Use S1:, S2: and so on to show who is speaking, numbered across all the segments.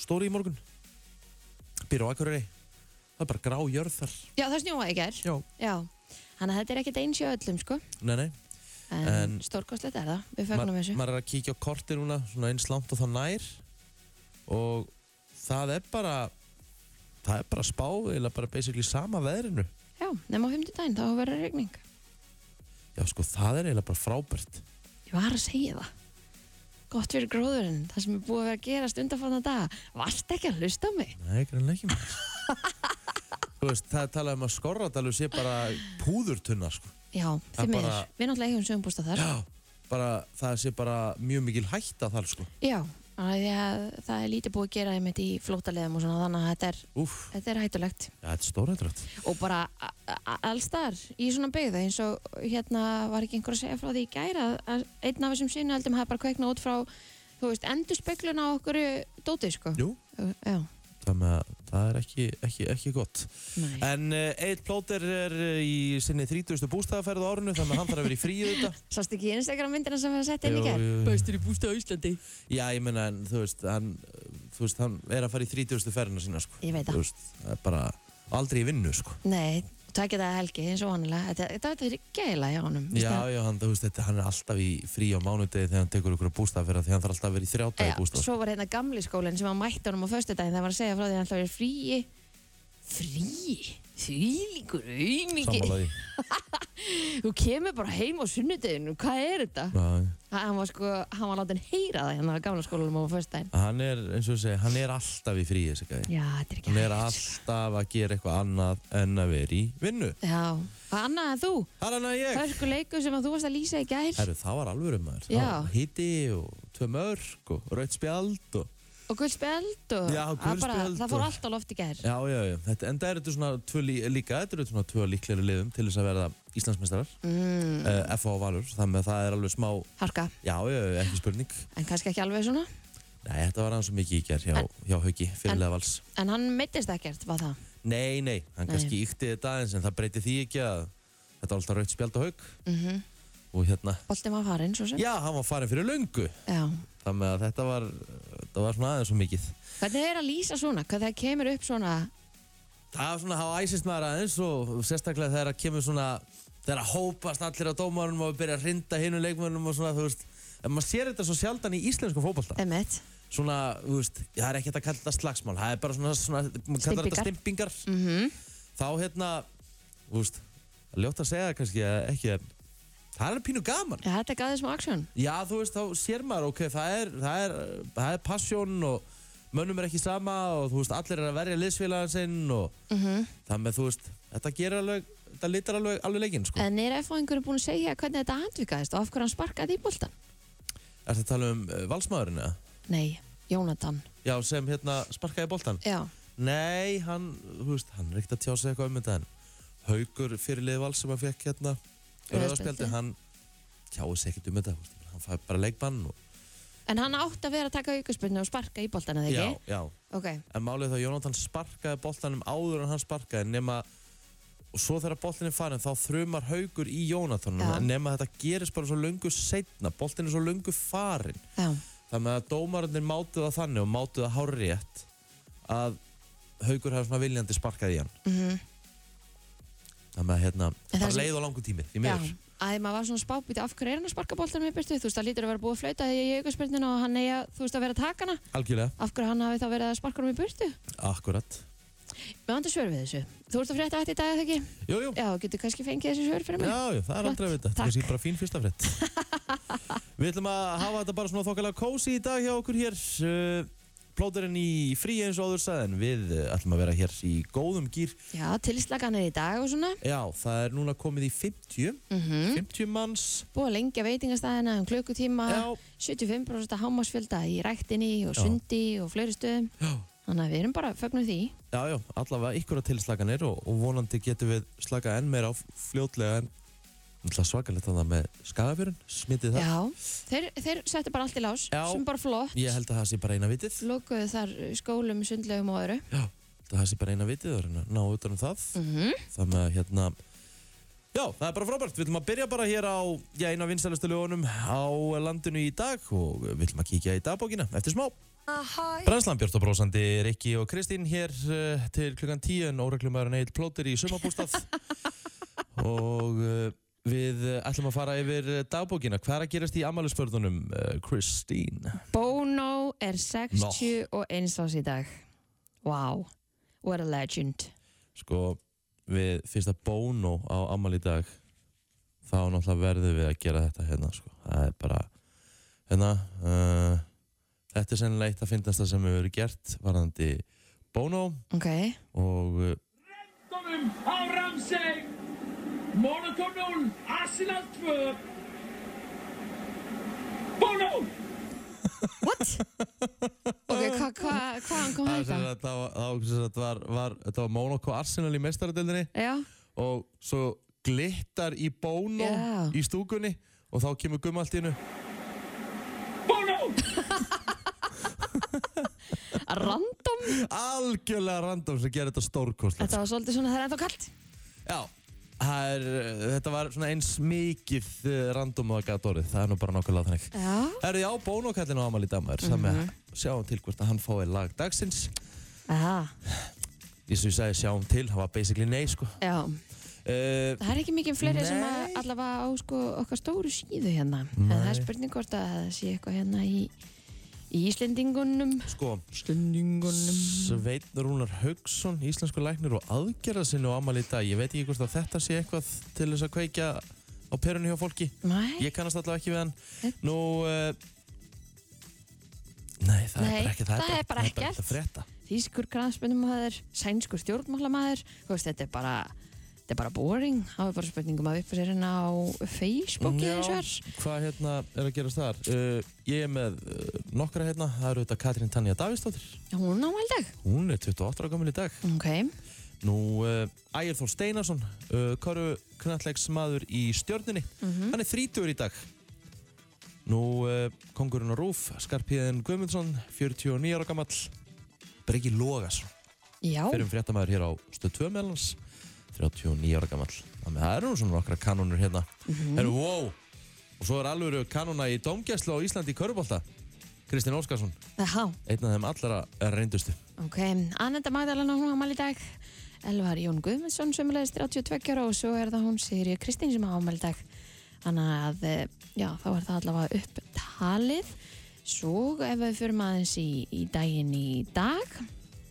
S1: stóri í morgun Býr á Akureyri Það er bara grá jörð þar
S2: Já, það snjóaði í gær.
S1: Já.
S2: Þannig að þetta er ekkert eins í öllum, sko.
S1: Nei, nei
S2: En, en
S1: En-
S2: stórkostlegt er það. Við fagnum þessu.
S1: Maður er að kíkja á korti núna Svona eins langt og það nær Og það er bara Það er bara spá Eða bara basically sama veðrinu
S2: Já, nema á fimmtudaginn, þá verður regning.
S1: Já sko, það er eiginlega bara frábært
S2: Ég var að segja það. Gott fyrir gróðurinn, það sem er búið að vera að gerast undanfanna daga. Varst ekki að hlusta á mig?
S1: Nei, grannlega ekki maður Þú veist, það er talað um að skorradalur sé bara púðurtunna sko.
S2: Já,
S1: Það
S2: þið miður.
S1: bara-
S2: Við náttúrulega eigum sögumbústa þar.
S1: Já, bara, það sé bara mjög mikil hætta þar sko.
S2: Já, af því að það er lítið búið að gera einmitt í flótaleðum og svona þannig að þetta er,
S1: Úf,
S2: þetta er hættulegt.
S1: ja, þetta er stórættrætt
S2: Og bara a- a- allstar í svona byggða eins og hérna var ekki einhver að segja frá því í gæra að einn af þessum sínaldum hafði bara kveiknað út frá, þú veist, endur spegluna á okkur dótið, sko.
S1: Jú,
S2: Já,
S1: þannig að það er ekki, ekki, ekki gott
S2: næ.
S1: En uh, Eil Plóter er eh, í sinni 30. bústæðaferð á árinu þannig að hann þarf að vera í fríu þetta
S2: Sást ekki Instagram myndina sem var að setja inn í
S1: Jú,
S2: gær?
S1: jú, jú.
S2: Bestur í bústa á Íslandi.
S1: Já, ég meina, en, þú veist, hann, eh, þú veist, hann er að fara í 30. ferðina sína sko.
S2: Ég veit
S1: Þú
S2: það.
S1: veist, það er bara aldrei í vinnu sko.
S2: Nei, tækja það helgi eins og vanilega. Þetta, þetta, þetta er gæla hjá honum. veistu
S1: Já,
S2: það?
S1: já, hann, þú veist, þetta, hann er alltaf í frí á mánudegi þegar hann tekur ykkur bústafyrra því hann þarf alltaf að vera í þrjáta í
S2: Já,
S1: bústaf.
S2: svo var hérna gamli skólinn sem hann mætti honum á föstudaginn það var að segja frá því að hann ætlaði að vera í fríi fríi, þvílíkur auðmiki,
S1: Sammálaði.
S2: þú kemur bara heim á sunnudeginu, hvað er þetta? Ha- Hann var sko, hann var látið heyra það hérna á gamla skólanum á föstudaginn
S1: Hann er, eins og ég segi, hann er alltaf í frí, þessi gæði.
S2: Já, þetta er ekki
S1: Hann er
S2: hægt, sko.
S1: alltaf að gera eitthvað annað en að vera í vinnu.
S2: Já, hvað annað en þú?
S1: Það er hann að ég.
S2: Hörkuleikur sem að þú varst að lýsa í gær
S1: Herru, það var alvöru maður.
S2: Já.
S1: Hitti og tvö mörg og raut spjald og...
S2: og guldspjald og
S1: Já, gul
S2: að bara,
S1: spjöld
S2: það fór
S1: og-
S2: allt á loft í gær
S1: Já, já, já. Þetta, en það eru þetta svona tvö lí, líka, þetta eru svona tvö líklegri liðum til þess að verða Íslandsmeistarar,
S2: mm,
S1: mm. FH og Valur, þannig að það er alveg smá,
S2: Harka,
S1: já, já, já, ekki spurning.
S2: en kannski ekki alveg svona
S1: Nei, þetta var aðeins svo mikið í gerð hjá, hjá Hauki, fyrirlega vals.
S2: En hann meittist ekkert, var það?
S1: Nei, nei, hann
S2: Nei.
S1: kannski ykti þetta aðeins en það breyti því ekki að þetta var alltaf raut spjald á Hauk
S2: Mm
S1: og hérna,
S2: Boltið var farinn, svo sem
S1: já, hann var farin fyrir löngu
S2: Já.
S1: þannig að þetta var, þetta var svona aðeins svo mikið.
S2: Hvernig er að lýsa svona? Hvernig það kemur upp svona
S1: Það var svona að hafa æsist maður aðeins og sérstaklega þegar að kemur svona, þegar að hópast allir á dómarunum og byrja að hrinda hinu leikmönnum og svona, þú veist, en maður sér þetta svo sjaldan í íslensku fótballta.
S2: emitt?
S1: Svona, þú veist, það er ekki hægt að kalla þetta slagsmál, það er bara svona, svona maður kallar þetta stimpingar.
S2: Mm
S1: þá hérna, þú veist, ljótt að segja kannski að ekki að það er pínu gaman.
S2: ja, þetta gaf þið smá aksjón
S1: Já, þú veist, þá sér maður, ok, það er, það er, það er passion og mönnum er ekki sama og þú veist, allir er að verja liðsfélagan sinn og
S2: mm
S1: það með, þú veist, þetta gerir alveg, þetta litar alveg, alveg leikinn, sko.
S2: En er F-fóðingur búin að segja hvernig þetta handvikaðist og af hverju hann sparkaði í boltan?
S1: Er þetta að tala um uh, valsmaðurinn, eða?
S2: Nei, Jónatan
S1: Já, sem hérna sparkaði boltan.
S2: Já,
S1: Nei, hann, þú veist, hann er ekkert að tjá sig eitthvað um þetta en Haugur fyrirlið vals sem hann fekk hérna
S2: Rauða
S1: Röðarspjaldi,
S2: spjaldið.
S1: hann tjáði sig ekkert um þetta, þú veist, hann fæði bara leikbann og,
S2: en hann átti að vera að taka aukurspunni og sparka í boltan eða
S1: Já,
S2: ekki?
S1: já,
S2: Ok,
S1: en málið þá Jónatan sparkaði boltanum áður en hann sparkaði nema og svo þegar boltin er farin þá þrumar haugur í Jónatan
S2: Já.
S1: nema þetta gerist bara svo löngu setna boltin er svo löngu farin
S2: já,
S1: þannig að dómararnir mátu það þannig og mátu það hárétt að haugur hefur svona viljandi sparkað í hann
S2: mm
S1: þannig að hérna,
S2: það
S1: bara
S2: sem-
S1: leið á langu tími því
S2: já.
S1: miður,
S2: Æ, maður var svona spábíti, af hverju er hann að sparka boltan með byrtu? Þú veist, það lítur að vera búið að flauta í aukurspunninu og hann eigi að, þú veist, að vera að taka hana
S1: algjörlega,
S2: Af hverju hann hafi þá verið að sparka hann með byrtu?
S1: akkurat
S2: Mér vantar svör við þessu. Þú ert að frétta þetta í dag, eða ekki?
S1: jú, jú, já,
S2: Já, getur kannski fengið þessi svör fyrir mig?
S1: já, það er aldrei að vita
S2: Takk.
S1: þetta er bara fín fyrsta frétt við ætlum að hafa þetta bara svona þokkalega kósi í dag hjá okkur hér Uh, plóterinn í frí eins og áður sagðin við uh, ætlum að vera hér í góðum gýr
S2: Já, tilslaganir í dag og svona.
S1: já, það er núna komið í 50
S2: Mm
S1: 50 manns
S2: Búið að lengja veitingastæðina um klukkutíma,
S1: já,
S2: 75% hámasfjölda í ræktinni og
S1: Já.
S2: sundi og fleiri stöðum.
S1: já,
S2: Þannig að við erum bara fögnum því.
S1: já, já allavega ykkur að tilslaganir og, og vonandi getum við slaka enn meira á fljótlega en Náttúrulega svakalegt þannig með skagafjörun, smitið það
S2: Já, þeir, þeir settu bara allt í lás,
S1: Já.
S2: sem er bara flott.
S1: Ég held að það sé bara eina vitið
S2: Lokuðu þar skólum, sundlegum og öðru.
S1: Það sé bara eina vitið að reyna að ná utan um það
S2: Mm
S1: Þannig að hérna Já, það er bara frábært, við ætlum að byrja bara hér á já, eina vinsælustu lögunum á landinu í dag og við ætlum að kíkja í dagbókina eftir smá Brænslan Björn og brósandi Rikki og Kristín hér uh, til klukkan 10 en óreglumæðurinn Egil Plóter í sumabústað og uh, við uh, ætlum að fara yfir uh, dagbókina. Hvað er að gerast í amalusbörðunum, uh, Kristín?
S2: Bono er 61 árs í dag. Wow, what a legend.
S1: Sko, við fyrsta Bono á amal í dag þá náttúrulega verðum við að gera þetta hérna, sko. Það er bara hérna uh, þetta er sennilega eitt að finnast það sem hefur verið gert varðandi Bono
S2: Ok,
S1: og uh,
S3: Komum á Ramsey Monaco 0 Arsenal 2 Bono
S2: ok, hvað hva, hva hann kom
S1: Það
S2: hægt
S1: sem
S2: að?
S1: sagt, það var- það var- sem sagt, var, var, þetta var Monaco Arsenal í mestaradeldinni
S2: Já,
S1: og svo glittar í Bono
S2: Já.
S1: í stúkunni og þá kemur gumma allt í hennu
S3: Bono
S2: random.
S1: algjörlega random sem gerir þetta stórkostlegt
S2: Þetta var svolítið svona, það er ennþá kallt.
S1: Já, það er, eh, þetta var svona eins mikið eh, random og að gata orðið það er nú bara nákvæmlega þannig
S2: Já,
S1: Herðu, já, Bono kallin á Amalí Damar mm
S2: Mhm.
S1: -hmm. sjáum til hvort að hann fái lag dagsins
S2: aha,
S1: eins og ég sagði sjáum til, það var basically nei sko.
S2: já.
S1: uh,
S2: Það er ekki mikið fleiri sem
S1: Nei.
S2: að allavega á sko okkar stóru síðu hérna. En það er spurning hvort að það sé eitthvað hérna í, í Íslendingunum.
S1: sko,
S2: Íslendingunum.
S1: Sveinn Rúnar Haugsson, íslensku læknir og aðgerða sinni á Amalí dag ég veit ekki hvort að þetta sé eitthvað til þess að kveikja á perunni hjá fólki
S2: Mæ,
S1: ég kannast allavega ekki við hann
S2: Nei.
S1: nú uh, nei, það
S2: Nei,
S1: er bara ekki
S2: það er bara
S1: það er bara
S2: ekkert.
S1: ekkert að frétta
S2: þýskur kransmennumæður, sænskur stjórnmálamæður, þú veist, þetta er bara, þetta er bara boring. Það er bara spurningum að uppa sér hérna á Facebooki
S1: Já.
S2: eins og þess.
S1: Hvað hérna er að gerast þar? Uh, ég er með uh, nokkra hérna, það eru þetta Katrín Tanja Davíðsdóttir.
S2: Hún á mældag.
S1: Hún er 28 ára gammal í dag.
S2: Ok,
S1: Nú, uh, Ægir Þór Steinarsson, uh, korfu knallegsmaður í stjörnunni. Hann er 30 í dag. Nú, uh, Kongurinn og Rúf, Skarpíðin Guðmundsson, 49 ára gammal. Breki Lógasson,
S2: já,
S1: fyrir um fréttamaður hér á stöð 2 meðlans, 39 ára gammal. Þannig að það eru nú svona nokkra kanónur hérna. Herru, wow! Og svo er alveg kanóna í domgæslu á Íslandi í Körbólta. Kristinn Óskarsson,
S2: það
S1: einn af þeim allra reyndustu.
S2: Ok, Ananda Magdalena hún ámæli í dag Elvar Jón Guðmundsson sömulegis 32 ára og svo er það hún Sigri Kristín sem ámæli í dag Þannig að, eh, já, þá er það allavega upptalið Svo ef við fyrir maður í, í daginn í dag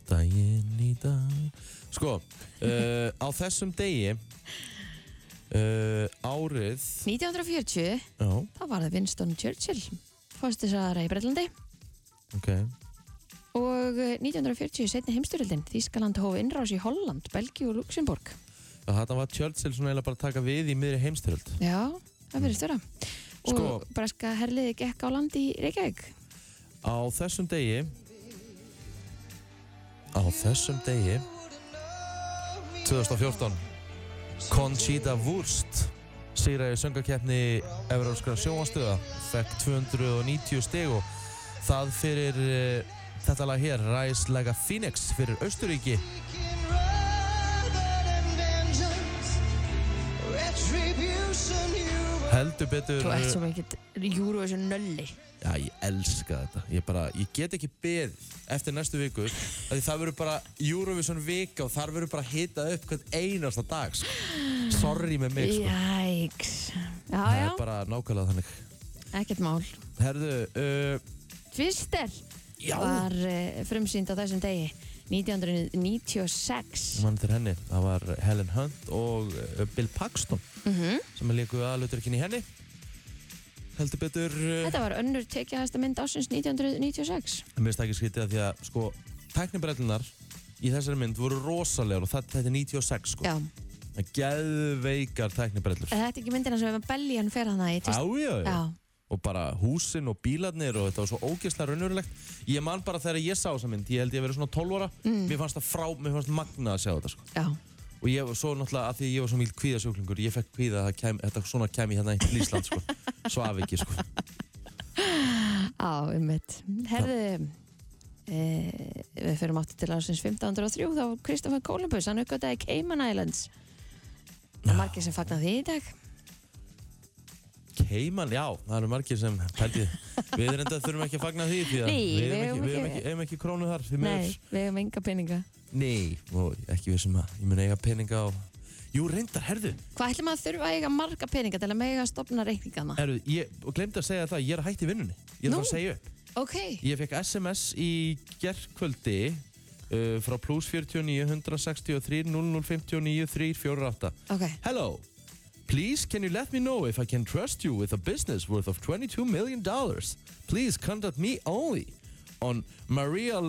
S1: Daginn í dag. Sko, uh, á þessum degi, uh, árið,
S2: 1940,
S1: já,
S2: þá var það Winston Churchill Fóstisara í Breitlandi
S1: ok,
S2: Og eh, 1940 setni heimstyrjöldin Þískaland hóf innrás í Holland, Belgíu og Luxemburg
S1: það þetta var Churchill svona eiginlega bara að taka við í miðri heimstyrjöld.
S2: Já, það verið störa Og
S1: Sko-
S2: breska herliði gekk á land í Reykjavík
S1: Á þessum degi, á þessum degi, 2014, Conchita Wurst sigraði söngakeppni Evrópskra sjónvastöða, fekk 290 stig og það fyrir eh, þetta lag hér, Rise Like a Phoenix fyrir Austuríki. Heldur betur...
S2: Þú ert svo mikið Eurovision nölli
S1: Já, ég elska þetta. Ég bara, ég get ekki beð eftir næstu viku af því það verður bara Eurovision vika og þar verður bara hitað upp hvern einasta dag, sko. Sorry með mig, sko.
S2: Jæks Já,
S1: Það
S2: já,
S1: er bara nákvæmlega þannig.
S2: ekkert mál
S1: Herðu, uh,
S2: Twister
S1: já,
S2: var uh, frumsýnd á þessum degi 1996
S1: mann til henni. Það var Helen Hunt og uh, Bill Paxton
S2: mm
S1: sem er líkuð aðluturkinn í henni. Heldur betur, uh,
S2: Þetta var önnur tekjahæsta mynd ásins 1996
S1: mér finnst það ekki skytið að því að, sko, tæknibrellunar í þessari mynd voru rosalegur og það, þetta er 96, sko.
S2: Já,
S1: Það geðveikar tæknibrellur.
S2: er þetta ekki myndina sem hefur beljan fer hana í Twister?
S1: Ájájájá.
S2: Já,
S1: og bara húsin og bílarnir og þetta var svo ógeðslega raunverulegt ég man bara þegar ég sá þessa mynd, ég held ég að vera svona 12 ára
S2: Mm.
S1: mér fannst það frá, mér fannst magna að sjá þetta sko.
S2: já
S1: og ég var svo náttúrulega, að því ég var svo mýl kvíðasjóklingur ég fekk kvíða að það kem, þetta svona kemi hérna í Ísland sko, svaf ekki sko
S2: Á, um mitt Herðu Uh, við fyrir áttu til ásins 1503 þá Kristoffer Columbus, hann uppgötaði Cayman Islands það er margir sem fagnar því í dag
S1: Keiman, já, það eru margir sem pældi Við reynda þurfum ekki að fagna því því að
S2: Nei,
S1: við
S2: við
S1: eigum ekki,
S2: eigum
S1: við eigum
S2: ekki-
S1: ekki, eigum ekki krónu þar því
S2: Nei,
S1: miður.
S2: við hefum enga peninga.
S1: Nei, og ekki við sem að ég mun eiga peninga á Jú, reyndar, herðu,
S2: Hvað ætlum að þurfa að eiga marga peninga til að mega stopna reikningana?
S1: herðu ég glemdi að segja það, ég er að hætti vinnunni Ég er að fara
S2: Nú.
S1: að segja upp
S2: Ok,
S1: Ég fekk SMS í gerðkvöldi uh, frá plus 49 163 0059 348
S2: ok.
S1: Hello, please can you let me know if I can trust you with a business worth of 22 million dollars? Please contact me only on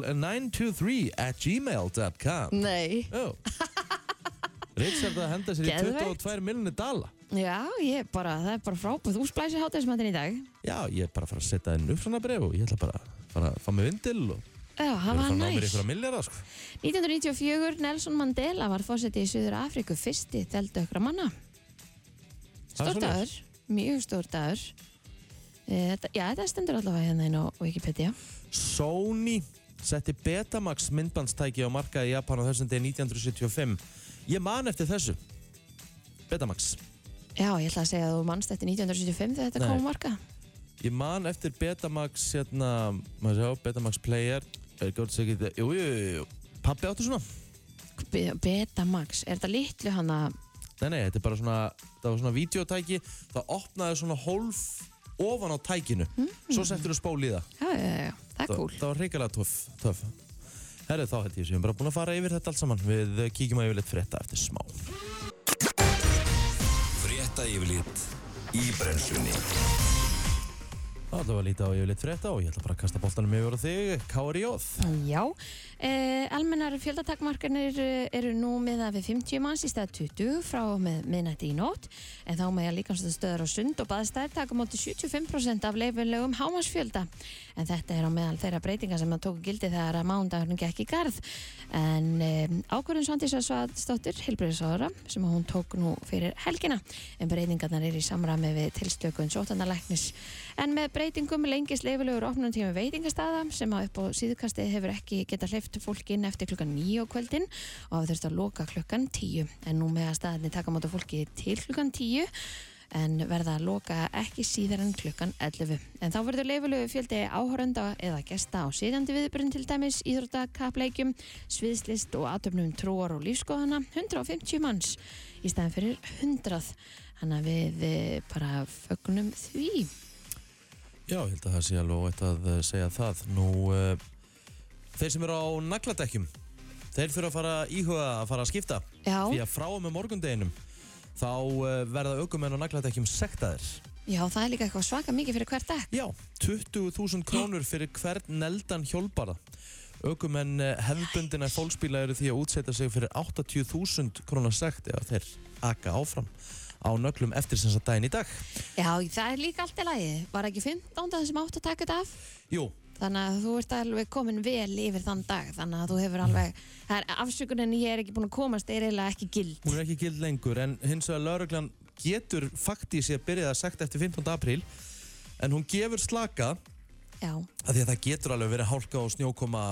S1: marial923 at gmail.com
S2: Nei.
S1: oh. Richard að henda sér í
S2: Geðveikt.
S1: 22 miljonir dala
S2: Já, ég bara, það er bara frábæð. Þú splæsir hátæðismættin í dag.
S1: Já, ég er bara að fara að setja inn uppsrannabref og ég ætla bara að fara að fá mig vindil og
S2: Já,
S1: ég er
S2: það
S1: að
S2: var
S1: fara að ná mér
S2: næs.
S1: ykkur að millera sko.
S2: 1994, Nelson Mandela var fósetti í Suður Afríku fyrsti teldu okkar manna.
S1: Það er
S2: Stór
S1: svoleiðis.
S2: dagur, mjög stór dagur. Eh, Þetta, já, þetta stendur allavega hérna inn á Wikipedia.
S1: Sony setti Betamax myndbandstæki á markaði í Japan á þessum degi 1975 Ég man eftir þessu Betamax
S2: Já, ég ætla að segja að þú mannst eftir 1975 þegar þetta
S1: Nei.
S2: kom á marka.
S1: Ég man eftir Betamax hérna, maður sjá, Betamax player er góð að segja þetta, jú, jú, jú, jú Pappi átti svona?
S2: Be- Betamax, er þetta litlu hana?
S1: Nei, nei, þetta er bara svona, það var svona videotæki, það opnaði svona hólf ofan á tækinu svo settur þú spól í það
S2: Já, já, já, já, það er
S1: það,
S2: cool.
S1: það var hrikalega töf, töf. Herri, þá held ég sem bara búin að fara yfir þetta allt saman við eh, kíkjum að yfirleitt frétta eftir smá
S4: Frétta yfirlit í brennslunni
S1: Það ætlum við að líta á yfirleitt frétta og ég ætla bara að kasta boltanum yfir á þig, Kári Jóð.
S2: Já, eh, almennar fjöldatakmarkanir eh, eru nú miða við 50 manns í stað 20 frá og með miðnætti í nótt en þá meða líkanstöðstöðar og sund og baðstæðir taka á móti 75% af leifilegum hámarsfjölda en þetta er á meðal þeirra breytinga sem að tóku gildi þegar að mándagurinn gekk í garð en eh, ákvörðun Svandísa Svadsdóttir helbriðsáðara sem að hún tók nú fyrir helgina en breytingarnar eru í samræmi við tilstökun sótanalæknis en með breytingum lengist leifilegur opnum tíma veitingastaða sem að upp á síðukasti hefur ekki geta hleyft fólki inn eftir klukkan 9 á kvöldin og hafa þurft að loka klukkan 10 en nú með að staðinni taka móta fólki til klukkan 10 en verða að loka ekki síðar en klukkan 11. En þá verður leifulegu fjöldi áhorenda eða gesta á síðandi viðbrunn til dæmis, íþrótta, kappleikjum, sviðslist og atöfnum trúar og lífskoðana, 150 manns í staðan fyrir 100. Þannig að við eh, bara fögnum því.
S1: Já, ég held að það sé alveg óætt að eh, segja það. Nú, uh, þeir sem eru á nagladekkjum, þeir þurfa að fara að íhuga að fara að skipta.
S2: Já,
S1: Því að frá og með morgundeginum, þá uh, verða aukumenn á nagladekkjum sektaðir.
S2: já, það er líka eitthvað svaka mikið fyrir hvert dekk.
S1: Já, 20.000 krónur fyrir hvern neldan hjólbara. Aukumenn eh, hefðbundina fólksbíla eru því að útsetja sig fyrir 80.000 krónar sekt eða þeir aka áfram á nöglum eftir sem sagt daginn í dag.
S2: Já, það er líka allt í lagi. Var ekki 15 það sem átt að taka þetta af?
S1: Jú,
S2: Þannig að þú ert alveg komin vel yfir þann dag Þannig að þú hefur
S1: Mhm.
S2: alveg Það er afsökunin ég er ekki búin að komast er eiginlega ekki gild
S1: hún er ekki gild lengur en hins vegar lauruglan getur faktís í að byrja það sagt eftir 15. apríl en hún gefur slaka
S2: Já,
S1: af því að það getur alveg verið hálka og snjókoma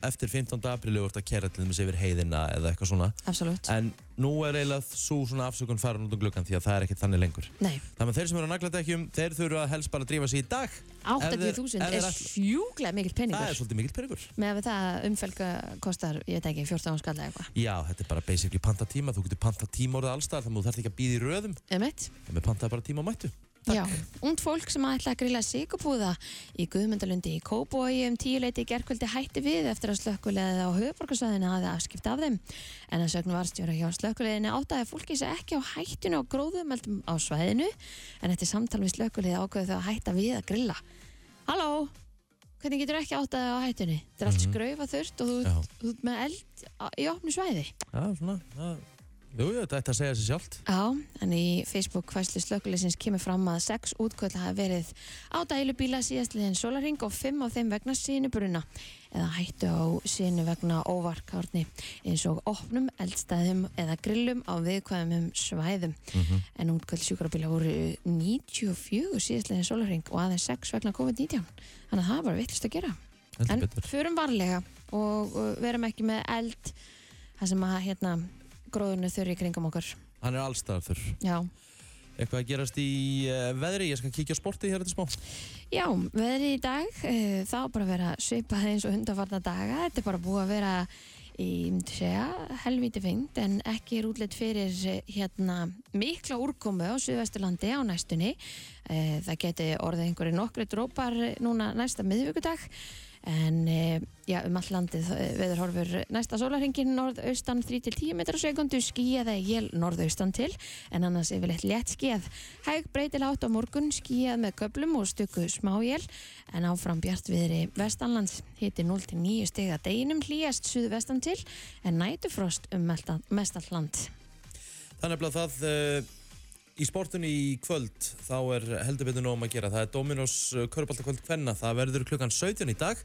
S1: eftir 15. apríl og þú ert að kera til þess yfir heiðina eða eitthvað svona
S2: absolutt
S1: en nú er eiginlega svo svona afsökun farin út um gluggan því að það er ekkert þannig lengur
S2: Nei,
S1: þannig að þeir sem eru á nagladekkjum þeir þurfa helst bara að drífa sig í dag Ef
S2: 80.000
S1: þeir- ef þeir
S2: er
S1: ætla-
S2: sjúklega mikill
S1: það er
S2: peningur
S1: svolítið mikill peningur
S2: Með að við það að umfelga kostar, ég veit ekki, 14 skall eða eitthvað
S1: já, þetta er bara basically panta tíma þú getur panta tíma orðið allstar þannig að þú þarf ekki að býða í röðum
S2: Eða mitt?
S1: þannig að panta bara tíma á mættu
S2: Já, und fólk sem ætla að grilla sigupúða í Guðmundalundi í Kóbói um tíuleiti í gerkvöldi hætti við eftir að slökkulegið á höfuborgarsvæðinu hafði afskipt af þeim. En að sögnu varstjóra hjá slökkuleginni áttaði fólki sér ekki á hættinu og gróðumöldum á svæðinu en eftir samtal við slökkulegið ákveðu þau að hætta við að grilla. Halló, hvernig getur ekki áttaði á hættinu? Þetta er allt
S1: Mhm.
S2: skraufa þurft og þú,
S1: já,
S2: þú ert með eld á- í opnu svæði.
S1: já, svona já. jú, jú, þetta ætti að segja sér sjálft
S2: Já, en í Facebook fæslu slökulisins kemur fram að sex útköll hafa verið á dælubíla síðastliðin sólaring og fimm af þeim vegna sínubruna eða hættu á sínu vegna óvarkárni eins og opnum, eldstæðum eða grillum á viðkvæðumum svæðum.
S1: Mhm.
S2: En útköll sjúkrabíla voru 94 síðastliðin sólaring og aðeins sex vegna COVID-19. Þannig að það er bara vittlust að gera.
S1: Heldur
S2: En
S1: betur.
S2: förum varlega og uh, verum ekki með eld þar sem að hérna gróðinu þurri kringum okkur.
S1: hann er allstarður
S2: Já.
S1: Eh, Eitthvað að gerast í uh, veðri, ég skal kíkja á sportið hér eftir smá.
S2: Já, veðrið í dag, eh, það var bara að vera svipað eins og undanfarna daga. Þetta er bara búið að vera í, ég myndi segja, helvíti fengt en ekki er útlétt fyrir eh, hérna mikla úrkomu á Suðvesturlandi á næstunni. Eh, Það geti orðið einhverju nokkri drópar eh, núna næsta miðvikudag en eh, já, um all landið eh, veðurhorfur næsta sólarhingin norðaustan 3-10 metrar á sekundu skýjaða jél norðaustan til en annars yfirleitt létt skýjað hæg breytil átt á morgun skýjað með köplum og stöku smájél en áfram bjart viðri vestanlands hiti 0-9 stiga deginum hlýjast suðvestan til en nætufrost um melta- mestallt land
S1: Þannig að það uh, í sportinu í kvöld þá er heldur betur nóg um að gera. Það er Dominos Körbáltakvöld Kvenna. Það verður klukkan 17 í dag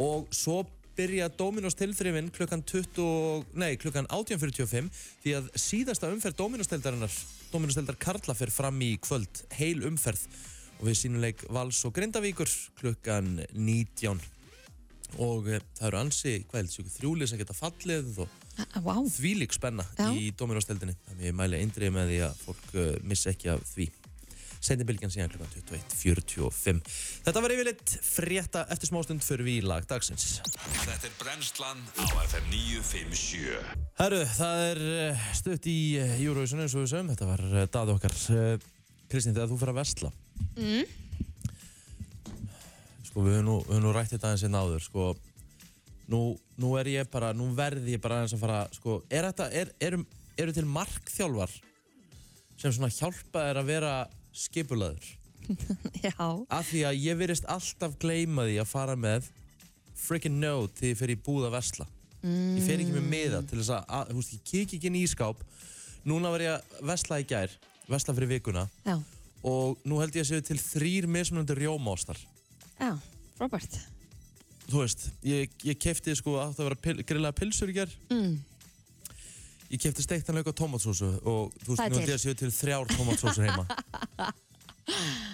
S1: og svo byrja Dominos tilþrifin klukkan, 20, nei, klukkan 18.45 því að síðasta umferð Dominos tildarinnar, Dominos tildar Karla fer fram í kvöld, heil umferð og við sínuleik Vals og Grindavíkur klukkan 19 og eh, það eru ansi hvað heldur, þrjúlið sem geta fallið og
S2: Ah, Vá, wow.
S1: þvílík spenna
S2: Já.
S1: í Dominos-deldinni. Þannig ég mæli eindrið með því að fólk uh, missa ekki af því. Sendi bylgjan síðan klukkan 21.45. Þetta var yfirleitt frétta eftir smástund fyrir við í lag dagsins.
S4: Þetta er brennslan á FM 957
S1: Herru, það er uh, stutt í uh, Eurovision eins og við sögum. Þetta var uh, dað okkar. Uh, Kristín, þegar þú fyrir að versla. Mm. Sko, við höfum nú, við höfum nú rætt þetta aðeins einn áður, sko. Nú, nú er ég bara, nú verð ég bara aðeins að fara, sko, er þetta, er, eru, eru til markþjálfar sem svona hjálpa þér að vera skipulaður?
S2: já
S1: Af því að ég virðist alltaf gleyma því að fara með freaking no þegar ég fer í búð að versla. Ég fer ekki með miða til þess að, að þú veist, ég kik ekki inn í ískáp. Núna var ég að versla í gær, versla fyrir vikuna
S2: Já,
S1: og nú held ég að séu til þrýr mismunandi rjómaostar.
S2: já, Robert
S1: Þú veist, ég, ég kefti sko átt að vera pil, grillaða pilsur í gær. Mm. Ég kefti steiktan lauk á tomatsósu og þú veist,
S2: Það er
S1: nú held
S2: til.
S1: ég að séu til þrjár tomatsósur heima.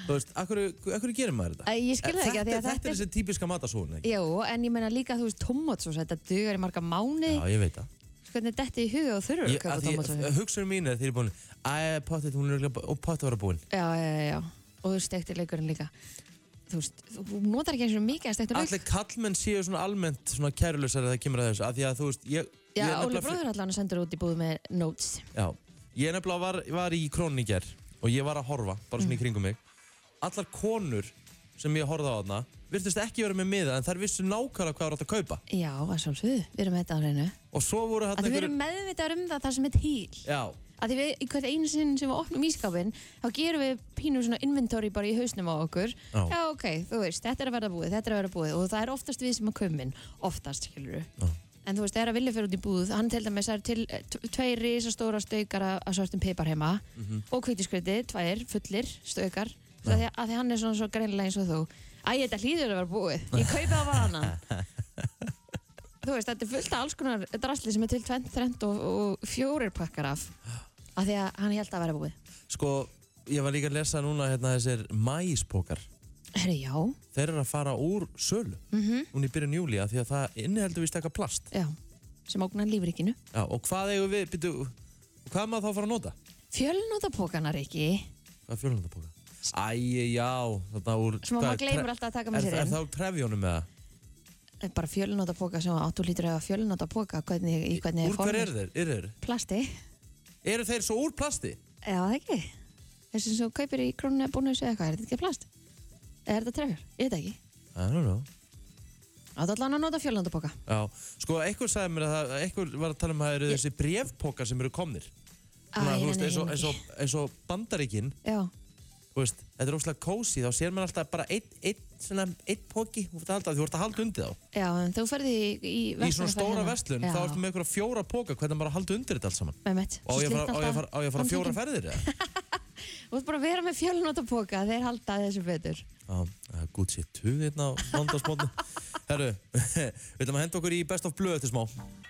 S1: þú veist, akkur, akkur gerir maður þetta? Eh,
S2: Æ, ég skil það ekki, af
S1: þetta,
S2: því að þetta
S1: þetta
S2: er-
S1: er þessi típiska matasóun, ekki?
S2: Jú, en ég meina líka þú veist tomatsós, þetta dugar í marga mánu
S1: Já, ég veit það.
S2: hvernig detti í huga og þurfur að
S1: Ég,
S2: kaupa
S1: að
S2: tomatsós
S1: því, hugsunum mín er þegar ég er búin Æ, pottet, hún er örugglega bú- og pottet var að búin
S2: já, já, já, já. og þú stektir leikurinn líka þú veist, þú notar ekki eins og mikið að stekta lauk
S1: Allir kallmenn séu svona almennt svona kærulösar þegar það kemur að þessu að því að þú veist, ég,
S2: já,
S1: ég
S2: Óli bróður allan sendur út í búð með notes
S1: Já, ég nefnilega var, var í króníker og ég var að horfa, bara
S2: Mhm.
S1: svona í kringum mig Allar konur sem ég horfði á þarna virtust ekki vera með miða en þær vissu nákvæmlega hvað var átt að kaupa
S2: já, að sjálfsögðu, við erum með þetta á hreinu
S1: og svo voru
S2: að
S1: þarna
S2: því við erum meðvitaður um það það sem er til
S1: Já,
S2: að því við, í hvert einu sinn sem við opnum ískapin þá gerum við pínu svona inventory bara í hausnum á okkur
S1: Já.
S2: já, ok, þú veist, þetta er að verða búið, þetta er að verða búið og það er oftast við sem að komin, oftast, skilur En þú veist, þegar að vilja fyrir út í búð, hann til dæmis er til eh, t- tveir risastóra staukar af af svörtum pipar heima og hvítiskriti, tvær, fullir staukar, ja. því, að- af því hann er svona svo greinilega eins og þú. Æ, þetta hlýður að vera búið, ég kaupi það bara hana. þú veist, þetta er fullt af alls konar drasli sem er til 20, 30 og, og fjórir pakkar af, af því að hann held að vera búið.
S1: sko, ég var líka að lesa núna hérna þessir mæspókar
S2: Herri, já,
S1: þeir eru að fara úr sölu
S2: Mhm.
S1: núna í byrjun júli af því að það inniheldur vist eitthvað plast
S2: já, sem ógnar lífrikinu.
S1: Já, og hvað eigum við, byrju, og hvað er maður þá að fara að nota?
S2: Fjölnótapókanar ekki,
S1: Hvað er fjölhundapóka? Æ, já, þarna úr...
S2: Sem
S1: hvað
S2: að maður
S1: er
S2: gleymir
S1: tre-
S2: alltaf að taka með sér
S1: er,
S2: inn.
S1: Er það úr trefjónum eða?
S2: Eh, bara fjölnótapóka sem áttu lítur að fjölnótapóka, hvernig, í hvernig
S1: Úr hver
S2: formið-
S1: eru þeir? Eru þeir?
S2: plasti
S1: Eru þeir svo úr plasti?
S2: Já, það ekki Þessi sem þú kaupir í krónu eða bónus eða eitthvað, er þetta ekki plast? Eða er þetta trefjur? Ég veit það ekki
S1: I don't know.
S2: Áttu allan að nota fjölöndaboka
S1: Já, sko, einhver sagði mér að það, einhver var að tala um að það eru þessi brefpókar sem eru komnir.
S2: Æ,
S1: Svona, þú
S2: nei, nei,
S1: veist,
S2: nei,
S1: eins og-
S2: nei.
S1: eins og- Eins og bandaríkin,
S2: Já,
S1: þú veist, þetta er óslega kósi, þá sér maður alltaf bara einn, einn, svona, einn póki, þú ert að halda- þú ert að halda undir þá.
S2: já, en þú ferði í, í, hérna.
S1: í svona stóra verslun, þá ertu
S2: með
S1: með einhverja fjóra póka, hvernig maður að halda undir þetta allt saman?
S2: Með mitt
S1: Og á ég að fara- á ég að fara- á ég að fara fjóra ferðir eða?
S2: Þú ert bara að vera með fjölöndaboka, þeir halda þessu betur
S1: Já, það er gútt sér tugð hérna á mándagsmótnu. Herru, við ætlum að henda okkur í Best of Blue eftir smá.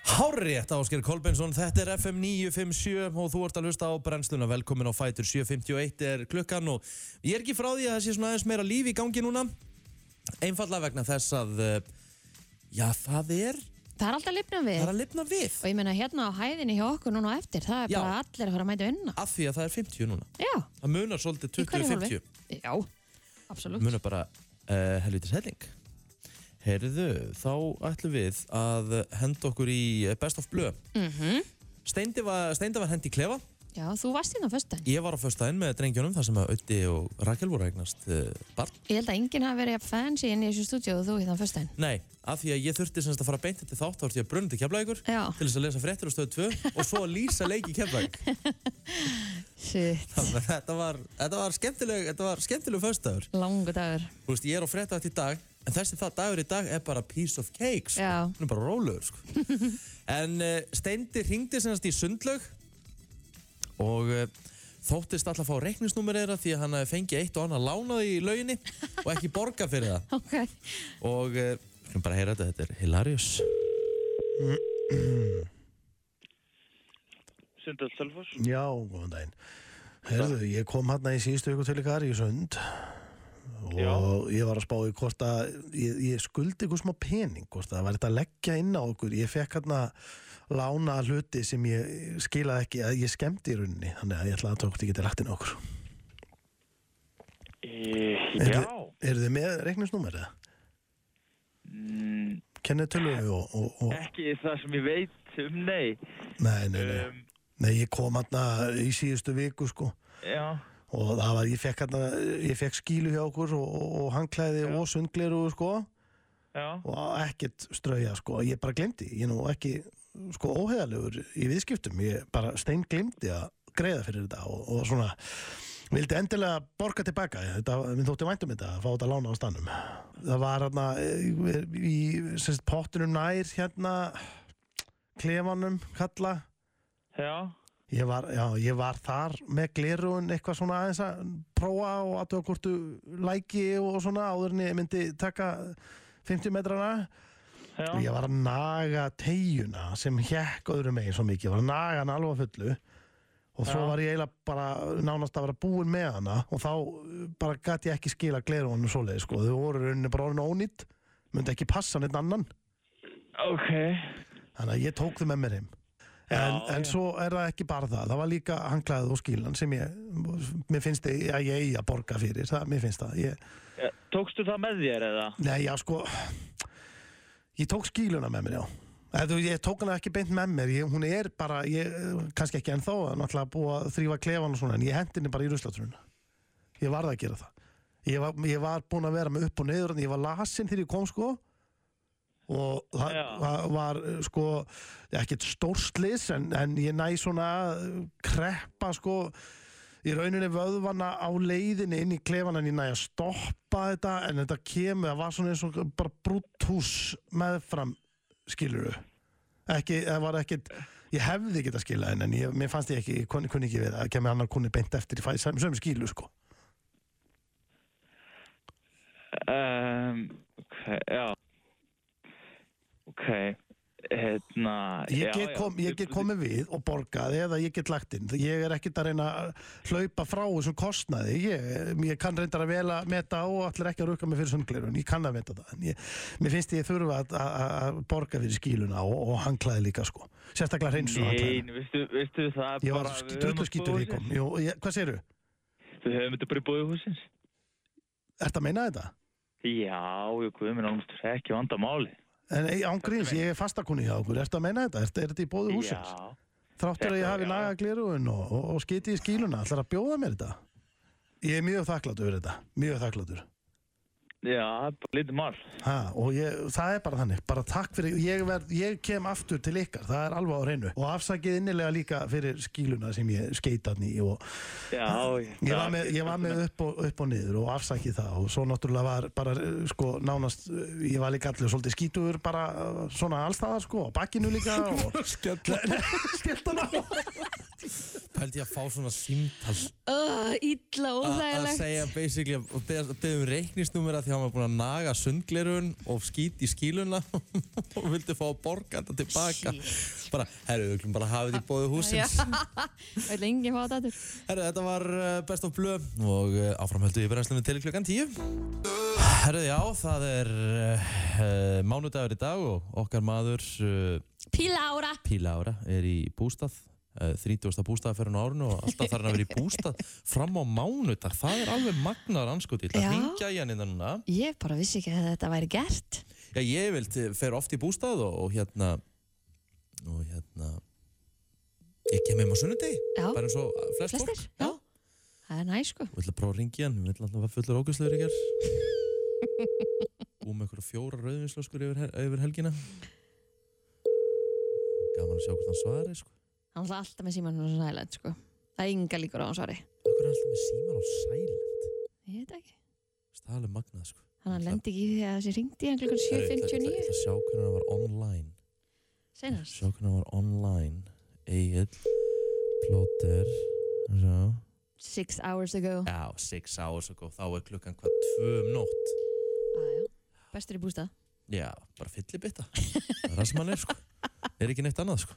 S1: Hárétt Ásker Kolbensson, þetta er FM 957 og þú ert að hlusta á brennsluna. Velkomin á Fætur 751 er klukkan og ég er ekki frá því að það sé svona aðeins meira líf í gangi núna. Einfallega vegna þess að, eh, já það er
S2: það er alltaf að lifna við
S1: Það er að lifna við
S2: og ég meina hérna á hæðinni hjá okkur núna á eftir það er
S1: Já.
S2: bara allir að fara að mæta unna
S1: af því að það er 50 núna.
S2: Já,
S1: Það munar svolítið
S2: í hverju hólfi
S1: 20-50.
S2: Já, absolutt
S1: munar bara uh, helvitis helling. Herðu, þá ætlum við að henda okkur í eh, Best of Blue.
S2: mm
S1: Steindi var, Steindi var hendi í klefa.
S2: Já, þú varst hérna á föstudaginn
S1: Ég var á föstudaginn með drengjónum þar sem að Ötti og Rakel voru að eignast uh, barn.
S2: Ég held að enginn hafi verið jafn fancy inn í þessu stúdíu og þú hérna á föstudaginn
S1: Nei, af því að ég þurfti semst að fara beint til þátt þá ætti ég að brunna til keflægur
S2: Já,
S1: til þess að lesa fréttir á stöðu 2 og svo að lýsa leik í keflæg.
S2: shit,
S1: þetta var, þetta var skemmtileg, þetta var skemmtileg föstudagur.
S2: langu dagur
S1: Þú veist, ég er á fréttavætt í dag en þessi það dagur í dag er bara piece of cake sko.
S2: Já.
S1: hún er bara rólegur sko. en uh, Steindi ringdi semst í sundlaug og uh, þóttist alltaf að fá reikningsnúmer eða því að hann hafði fengið eitt og annað lánað í lauginni og ekki borga fyrir það
S2: Ok,
S1: og uh, skulum bara heyra þetta, þetta er hilarious
S5: Sindal Selfoss.
S6: Já, góðan daginn. Herðu, ég kom hérna í síðustu viku til ykkar í sund og
S5: Já.
S6: ég var að spá í hvort að ég, ég skuldi ykkur smá pening, hvort að það var þetta að leggja inn á okkur. Ég fekk hérna lána hluti sem ég skilaði ekki að ég skemmti í rauninni, þannig að ég ætla að tókti ekki til lagt inn á okkur.
S5: E,
S6: Eru
S5: já.
S6: þið- Eru þið með reikningsnúmer eða?
S5: Mm, Eh,
S6: Kennið tölvu og, og, og...
S5: ekki það sem ég veit um, nei.
S6: Nei, nei, nei.
S5: Um,
S6: Nei, ég kom hérna í síðustu viku sko.
S5: já,
S6: og það var, ég fekk, hérna, ég fekk skílu hjá okkur og, og, og hangklæði og sundgleru sko,
S5: já.
S6: og ekkert strauja sko. ég bara glemdi, ég er nú ekki sko óheðalegur í viðskiptum ég bara stein glemdi að greiða fyrir þetta og, og svona vildi endilega borga tilbaka þetta, minn þótti væntum þetta að fá þetta lána á stannum það var hérna eh, í sérst, pottunum nær hérna klefanum kalla
S5: Já,
S6: Ég var, já, ég var þar með glerun eitthvað svona aðeins að prófa og aðtöða hvort þú læki og svona áður en ég myndi taka 50 metrana
S5: já.
S6: og ég var að naga tegjuna sem hjekk öðrum megin svo mikið, ég var að naga hann alveg að fullu og svo
S5: Já.
S6: var ég eiginlega bara nánast að vera búin með hana og þá uh, bara gat ég ekki skila glerunum svoleið sko, þau voru í rauninni bara orðin ónýtt myndi ekki passa neitt annan
S5: Ok.
S6: Þannig að ég tók þau með mér heim. En,
S5: Já,
S6: en
S5: já.
S6: svo er það ekki bara það, það var líka hanglaðið og skílan sem ég, mér finnst þið að ég eigi að borga fyrir, það, mér finnst það. Ég,
S5: Ja, Tókstu það með þér eða?
S6: nei, já, sko, ég tók skíluna með mér, já. Eða, þú- ég tók hana ekki beint með mér, ég, hún er bara, ég, kannski ekki ennþá, náttúrulega búið að þrýfa klefan og svona, en ég hendi henni bara í ruslatrunna. Ég varð að gera það. Ég var, ég var búin að vera með upp og neyður, en ég var lasinn þegar ég kom, sko, og það
S5: Já.
S6: það var uh, sko ekkert stórslis en, en ég næ svona uh, kreppa sko í rauninni vöðvana á leiðinni inn í klefan en ég næ að stoppa þetta en þetta kemur, það var svona eins og bara brúthús meðfram skiluru ekki, það var ekkert ég hefði ekki að skila henn en ég, mér fannst ég ekki, ég kunni, kunni ekki við að kemur annar kunni beint eftir í fæ, sem, sem skilu sko
S5: Um, ok, já. Ok, hérna.
S6: Ég
S5: já,
S6: get,
S5: já.
S6: kom, ég get komið við og borgað eða ég get lagt inn. Ég er ekkert að reyna að hlaupa frá þessum kostnaði. Ég, ég kann reyndar að vel að meta og allir ekki að rauka mig fyrir sundglerun. Ég kann að meta það. En ég, mér finnst ég þurfa að, að, að borga fyrir skíluna og, og hanglaði líka sko. Sérstaklega hreinsun
S5: Nei,
S6: hanglaði.
S5: veistu, veistu það
S6: Ég var
S5: bara, við höfum
S6: drullu skítur
S5: að
S6: ég kom.
S5: búa í húsins.
S6: Jú, ég, hvað segirðu?
S5: Við höfum þetta bara í búið húsins.
S6: Ertu að meina þetta?
S5: Já, ég guðum mér ánumst ekki vanda máli.
S6: En ei, ángríns, ég er fastakunni hjá okkur. Ertu að meina þetta? Ertu, er þetta í bóðu húsins?
S5: Já,
S6: Þráttur að ég
S5: Þetta-
S6: hafi
S5: já.
S6: naga glerugun og, og, og skiti í skíluna, ætlar að bjóða mér þetta? Ég er mjög þakklátur fyrir þetta, mjög þakklátur.
S5: já, það er bara lítið mál.
S6: Ha, og ég, það er bara þannig, bara takk fyrir, ég, verð, ég kem aftur til ykkar, það er alveg á reynu. Og afsakið innilega líka fyrir skíluna sem ég skeitan í og
S5: Já,
S6: ég var með, ég var með upp, og, upp og niður og afsakið það og svo náttúrulega var bara, eh, sko, nánast, eh, ég var líka allir svolítið skítur bara eh, svona allstaðar, sko, á bakkinu líka og skellt hann á.
S1: Pældi ég að fá svona símtall
S2: uh, Ítla
S1: að að
S2: óþægilegt
S1: segja basically að- og beða beða um reikningsnúmera því að hann var búinn að naga sundglerun og skít í skíluna og vildi fá að borga þetta tilbaka bara, herru, við klum bara hafa þetta í bóðu húsins
S2: Það er lengi fá þetta aftur.
S1: eh, herru, þetta var uh, Best of Blue og uh, áframhöldu í brennslunni til klukkan 10
S4: Best
S1: Herðu, já, það er uh, mánudagur í dag og okkar maður uh,
S2: Píla ára
S1: Píla Ára er í bústað uh, 30. bústaðaferðin á árinu og alltaf þarf hann að vera í bústað fram á mánudag það er alveg magnaðar anskoti það
S2: Já.
S1: hringja í hann innan núna
S2: Ég bara vissi ekki að þetta væri gert
S1: Já, ég vil til- fer oft í bústað og, og hérna og hérna ég kem heim á sunnudegi
S2: Já,
S1: bara eins og flest
S2: flestir
S1: fólk
S2: já. Það er næ sko
S1: Við ætlum að prófa að ringja hann, við ætlum alltaf að vera fullur ógæslegur í gerð Búum með einhverja fjóra rauðvinslöskur yfir, hel- yfir helgina Gaman að sjá hvort hann svarir sko
S2: Hann ætla alltaf með símanum og svona hælænt sko Það er ynga líkur á hans svari
S1: Akkur er hann alltaf með síman á silent
S2: Ég veit það ekki
S1: Það er alveg magnað sko
S2: Þannig að hann lendi ekki í því að þessi ringdi hann klukkan
S1: Herru, ég ætla- Ég
S2: 7.59
S1: ætla að sjá hvernig hann var online
S2: Senast
S1: Sjá hvernig hann var online Egil Plóter Sjá
S2: Six hours ago
S1: Já, 6 hours ago Þá er klukkan hvað 2 um nótt
S2: ah, já. Bestur í bústað
S1: Já, bara fyllibitta Það er það sem hann er sko Er ekki neitt annað sko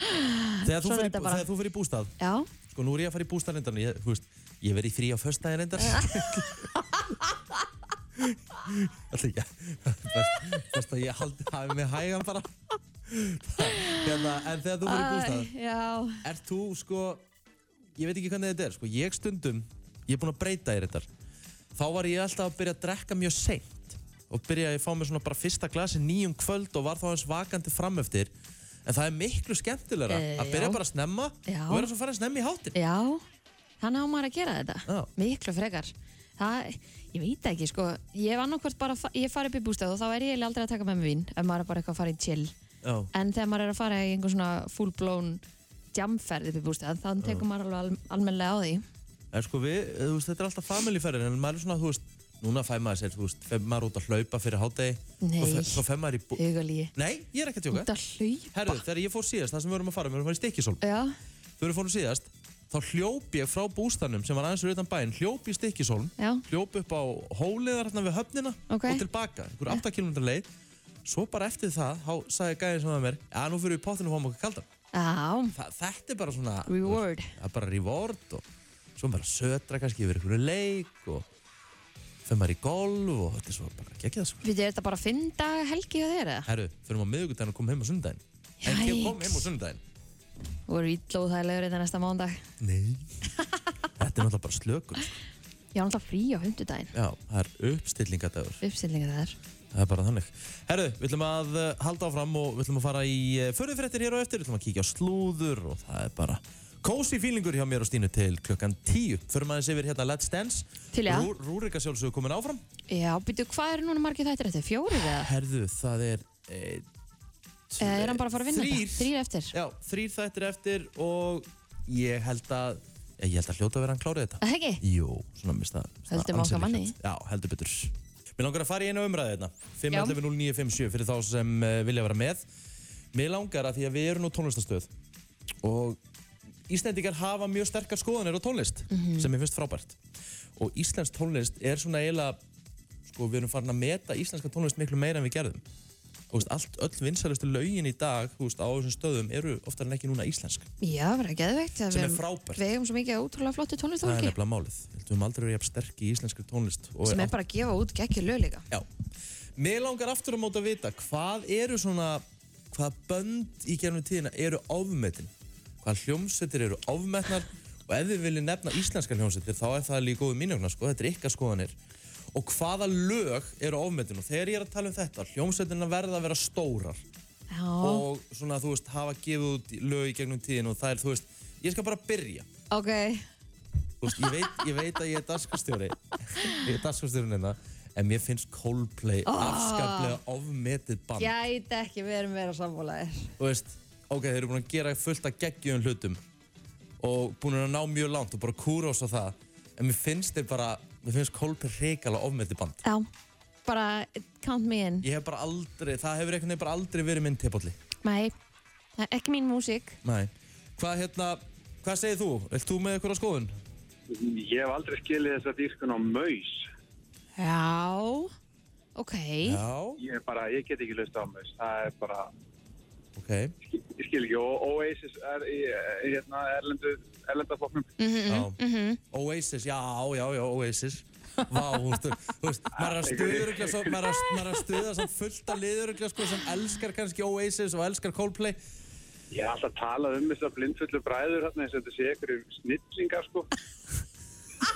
S1: Þegar þú
S2: Svona er
S1: fyrir,
S2: þetta bara.
S1: þegar þú fyrir í bústað
S2: Já
S1: Sko nú er ég að fara í bústað reyndan Ég, þú veist, ég verið í frí á föstudaginn reyndar Alltaf ekki Fast að ég haldi hafi mig hægan bara hérna, En þegar þú fyrir í bústað
S2: Æ, Já
S1: Ert þú sko Ég veit ekki hvernig þetta er sko Ég stundum, ég er búinn að breyta þér þetta Þá var ég alltaf að byrja að drekka mjög seint Og byrja að fá mér svona bara fyrsta glasi nýjum kvöld Og var þá eins vakandi fram eftir En það er miklu skemmtilegra
S2: Eh,
S1: Að byrja
S2: já.
S1: bara að snemma
S2: Já.
S1: Og vera svo að fara að snemma í hátin
S2: Já Þannig á maður að gera þetta
S1: Já.
S2: Miklu frekar Það, ég veit það ekki sko Ég var nokkvart bara, að fa- ég fari upp í bústað og þá er ég eiginlega aldrei að taka með mig vín ef maður er bara eitthvað að fara í chill
S1: Já,
S2: en þegar maður er að fara í einhver svona full blown jamferð upp í bústað þannig tekur maður alveg al almennilega á því
S1: en sko við, þú veist, þetta er alltaf familyferðin En maður er svona, þú veist, núna fæ maður sér Þú veist, fæ maður út að hlaupa fyrir hátegi
S2: Nei.
S1: Svo fæ maður í bú...
S2: hugalíi,
S1: Nei, ég er ekki að
S2: út
S1: tjóka
S2: að hlaupa
S1: Herðu, þegar ég fór síðast, það sem við vorum að fara, við vorum að fara í stikkisól
S2: já,
S1: Þau eru fórum síðast Þá hljóp ég frá bústanum sem var aðeins fyrir utan bæinn Hljóp í Stykkishólm
S2: Já.
S1: Hljóp upp á hóliðar hérna við höfnina
S2: Ok.
S1: Og tilbaka, einhver 8 km leið Svo bara eftir það, þá sagði gæðin sem var með mér Já, nú fyrir við í pottinu og fáum okkur kaldan
S2: já,
S1: Þa, Þetta er bara svona
S2: Reward.
S1: Það er bara reward og Svo bara södra kannski yfir einhverju leik og Fyrir maður í golf og þetta er svo bara gekkið það sko
S2: við er þetta bara að finna helgi hjá þér eða?
S1: Herru, fyrir maður miðugudaginn og komum heim á sundaginn En ég kom
S2: Yikes.
S1: heim á sundaginn
S2: Þú voru íllóðhæðilegur þetta hérna næsta mándag
S1: Nei Þetta er náttúrulega bara slökun sko.
S2: ég var náttúrulega frí á hundudaginn
S1: Já, það er uppstillingadagur
S2: uppstillinga þar
S1: Það er bara þannig. Herru, við ætlum að uh, halda áfram og við ætlum að fara í uh, förðufréttir hér á eftir, við ætlum að kíkja á slúður og það er bara cozy feelingur hjá mér og Stínu til klukkan tíu. Förum aðeins yfir hérna Let's Dance.
S2: Til í það.
S1: Rú, Rúrika sjálfsögur komin áfram.
S2: já, býtu, hvað er núna margir þættir eftir? fjórir eða?
S1: Herðu, það er... E,
S2: eða Eh, er hann bara að fara að vinna
S1: Þrír.
S2: þetta? þrýr eftir,
S1: Já, þrýr þættir eftir og ég held að... Ég held að hljóta að vera hann klárið þetta.
S2: það ekki?
S1: Jú, svona mista
S2: Höldum okkar manni.
S1: Já, heldur betur Mér langar að fara í einu umræði hérna
S2: Já.
S1: 5.11.09.57 fyrir þá sem uh, vilja vera með Mér langar að því að við erum nú tónlistastöð og Íslendingar hafa mjög sterkar skoðanir á tónlist
S2: Mhm.
S1: sem ég finnst frábært og Íslensk tónlist er svona eiginlega sko við erum farin að meta íslenska tónlist miklu meira en við gerðum og þú veist, allt, öll vinsælustu lögin í dag þú veist, á þessum stöðum eru oftar en ekki núna íslensk
S2: já, verður geðveikt að
S1: Sem er
S2: við-
S1: frábært.
S2: við eigum svo mikið ótrúlega
S1: það
S2: flottu
S1: er
S2: tónlistólki
S1: nefnilega málið, Ég held við höfum aldrei verið jafn sterk í íslenskri tónlist og
S2: sem er bara að gefa út geggju lög líka
S1: Já. Mér langar aftur á móti að vita hvað eru svona, hvað bönd í gerðum tíðina eru ofmetin? Hvað hljómsettir eru ofmetnar? Og ef þið viljið nefna íslenskar hljómsettir þá er það líka góðu mínjóknar sko, þetta er ykkar skoðanir. Og hvaða lög eru ofmetin? Og þegar ég er að tala um þetta, hljómsettina verða að vera stórar
S2: já,
S1: og svona þú veist, hafa gefið út lög í gegnum tíðin og það er, þú veist, ég skal bara byrja.
S2: ok
S1: Þú veist, ég veit, ég veit að ég er daskastjóri Ég er daskastjórin hérna En mér finnst Coldplay afskaplega ofmetið band
S2: Gæti ekki verið meira sammálaðir.
S1: Þú veist, ok, þeir eru búin að gera fullt af geggjum hlutum Og búin að ná mjög langt og bara kúra oss á það En mér finnst þeir bara, mér finnst Coldplay reikala ofmetið band
S2: Já, bara count me in.
S1: Ég hef bara aldrei, það hefur einhvern veginn bara aldrei verið minn teipolli
S2: Nei, það er ekki mín músík.
S1: Nei Hvað hérna, hvað segir þú? Vilt þú með ykkur á skoðun?
S7: Ég hef aldrei skilið þessa dýrkun á maus.
S2: Já, ok.
S1: Já
S7: Ég, er bara, ég get ekki löst á maus. Það er bara,
S1: Ok,
S7: ég skil ekki. Og Oasis er í eh, hérna, erlendu, erlendafloknum.
S1: já Oasis, já, já, já, Oasis Vá, hún stu, þú veist, maður er að stuðurugla svo, maður er að, maður er að stuða samt fullt af liðurugla sko sem elskar kannski Oasis og elskar Coldplay
S7: Ég er alltaf að tala um þessar blindfullu bræður hérna eins og þetta sé ykkur snillingar sko.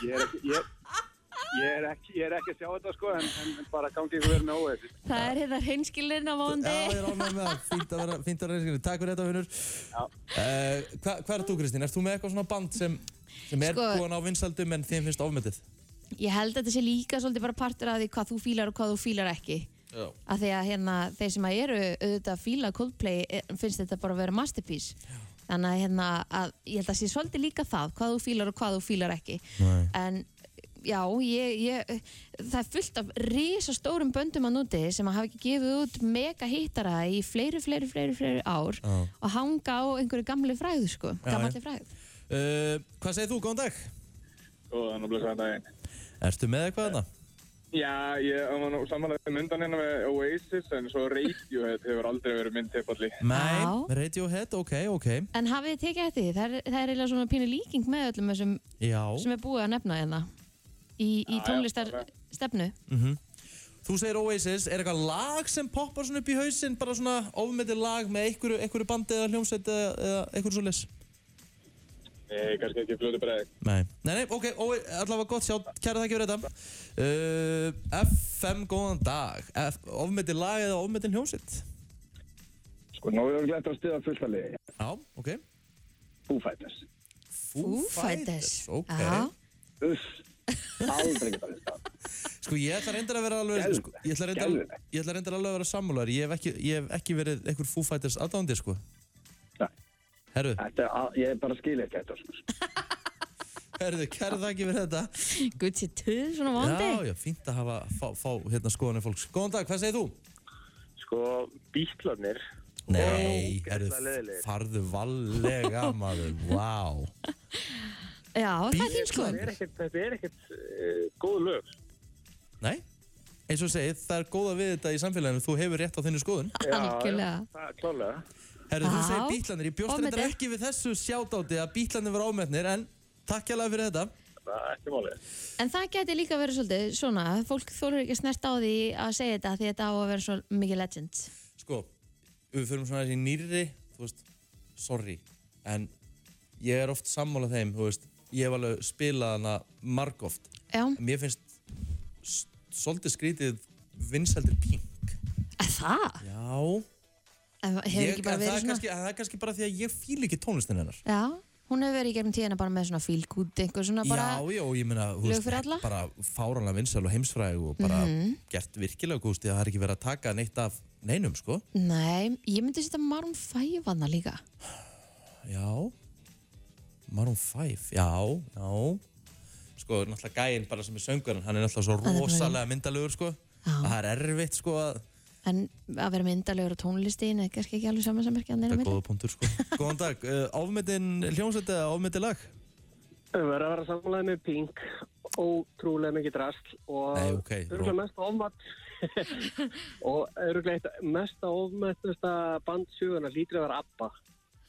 S7: Ég er ekki, ég, ég er ekki, ég er ekki að sjá þetta sko en, en en bara gangi ykkur verið með óeir.
S2: Það er hérna hreinskilirinn á
S1: Já,
S2: móndi.
S1: ég er ánægð með það, fínt að vera, fínt að vera reynskilin Takk fyrir þetta, vinnur uh, hva, Hvað er þú, Kristín? Erst þú með eitthvað svona band sem, sem er sko,
S2: Sko-
S1: búin á vinsaldum en þeim finnst ofmetið?
S2: Ég held að þetta sé líka svolítið bara partur af því hvað þú fílar og hvað þú fílar ekki.
S1: Já
S2: Af því að hérna, þeir sem að eru auðvitað að fíla Coldplay eh, finnst þetta bara að vera masterpiece. Þannig að, hérna, að ég held að sé svolítið líka það, hvað þú fílar og hvað þú fílar ekki.
S1: Nei.
S2: En já, ég, ég, það er fullt af risastórum böndum að núti sem að hafa ekki gefið út mega hittara í fleiri, fleiri, fleiri, fleiri ár
S1: Já.
S2: og hanga á einhverju gamli fræðu, sko.
S1: Já,
S2: Gamalli
S1: já.
S2: fræðu.
S1: Uh, hvað segir þú, góðan dag?
S8: Góðan og blessaðan daginn.
S1: Ertu með eitthvað þarna?
S8: Já, ég var nú samanlega myndan hérna með Oasis en svo Radiohead hefur aldrei verið mynd teppalli.
S1: Mæn, Radiohead, ok, ok
S2: En hafið þið tekið eftir því? Það er, það er eiginlega svona pínu líking með öllum þessum
S1: Já,
S2: sem er búið að nefna hérna í, í tónlistar stefnu.
S1: þú segir Oasis, er eitthvað lag sem poppar svona upp í hausinn, bara svona ofmetið lag með einhverju, einhverju bandi eða hljómsveit eða, eða einhverju svo
S8: Nei, kannski ekki fljótu bregði.
S1: Nei. Nei, nei, ok, ó, allavega gott sjá, kæra þakki fyrir þetta. Uh, FM, góðan dag. F, ofmyndin lag eða ofmyndin hljómsitt?
S8: Sko, nú erum við glætt að stiða fullt að liði.
S1: Já, ok.
S8: Foo Fighters.
S1: Foo Ok.
S2: Já.
S8: Uff, aldrei geta hlusta.
S1: Sko, ég ætla reyndar að vera alveg,
S8: Skelfilegt,
S1: sko, ég ætla reyndar,
S8: skelfilegt.
S1: ég ætla reyndar alveg að vera sammúlari. Ég hef ekki, ég hef ekki verið einhver Foo Fighters aðdándi, sko.
S8: Nei.
S1: Herru,
S8: Þetta, er al- ég bara skil ekki þetta, sko.
S1: herru, kæra þakki fyrir þetta.
S2: Gutt sér töð svona vandi.
S1: Já, já, fínt að hafa, fá, fá hérna skoðanir fólks. Góðan dag, hvað segir þú?
S5: Sko, bítlarnir
S1: Nei, herru,
S5: ógeðslega leiðilegir.
S1: farðu vallega, maður, vá.
S2: Já, það er þín sko.
S5: er ekkert, þetta er ekkert uh, góð lög
S1: Nei, eins og ég segi, það er góða við þetta í samfélaginu, þú hefur rétt á þinni skoðun.
S2: Algjörlega.
S5: Það er klálega
S1: Herru, þú
S2: Já.
S1: segir bítlanir, ég bjóst
S2: Ofmetið.
S1: reyndar ekki við þessu sjátáti að bítlanir var ámennir, en takk hjá fyrir þetta.
S5: Það er ekki málið
S2: En það geti líka verið svolítið svona, fólk þólur ekki að snerta á því að segja þetta því þetta á að vera svo mikið legend.
S1: Sko, við förum svona þessi nýrri, þú veist, sorry, en ég er oft sammála þeim, þú veist, ég hef alveg spilað hana margóft.
S2: Já,
S1: En Mér finnst s- svolítið skrítið vinseldir pink.
S2: En það
S1: Já,
S2: En hefur
S1: ég,
S2: ekki
S1: en
S2: bara
S1: það,
S2: verið
S1: er
S2: svona.
S1: kannski, en það er kannski bara því að ég fíl ekki tónlistin hennar.
S2: Já, hún hefur verið í gegnum tíðina bara með svona feel good, einhver svona bara.
S1: Já, já, og ég meina, þú
S2: lög fyrir alla? Mhm.
S1: bara fáranlega vinsæl og heimsfræg og bara gert virkilega gúst því að það er ekki verið að taka neitt af neinum, sko.
S2: Nei, ég myndi setja Maroon 5 hana líka.
S1: Já, Maroon 5, já, já. Sko, náttúrulega gæinn bara sem er söngurinn, hann er náttúrulega svo
S2: er bara-
S1: rosalega myndalegur, sko.
S2: Já.
S1: Að Það er erfitt, sko, að...
S2: En að vera myndalegur á tónlistin er kannski ekki alveg
S1: Það
S2: samansamverkjan þeirra
S1: er
S2: milli.
S1: góða punktur, sko. Góðan dag, uh, áfmyndin hljómsveit eða áfmyndin lag?
S9: Við verðum að vera sammálaði með Pink, ótrúlega mikið drasl og
S1: Nei, ok,
S9: örgulega
S1: ró-
S9: mest ofmatt og örgulega eitt mesta ofmattasta band söguna lítur að vera ABBA.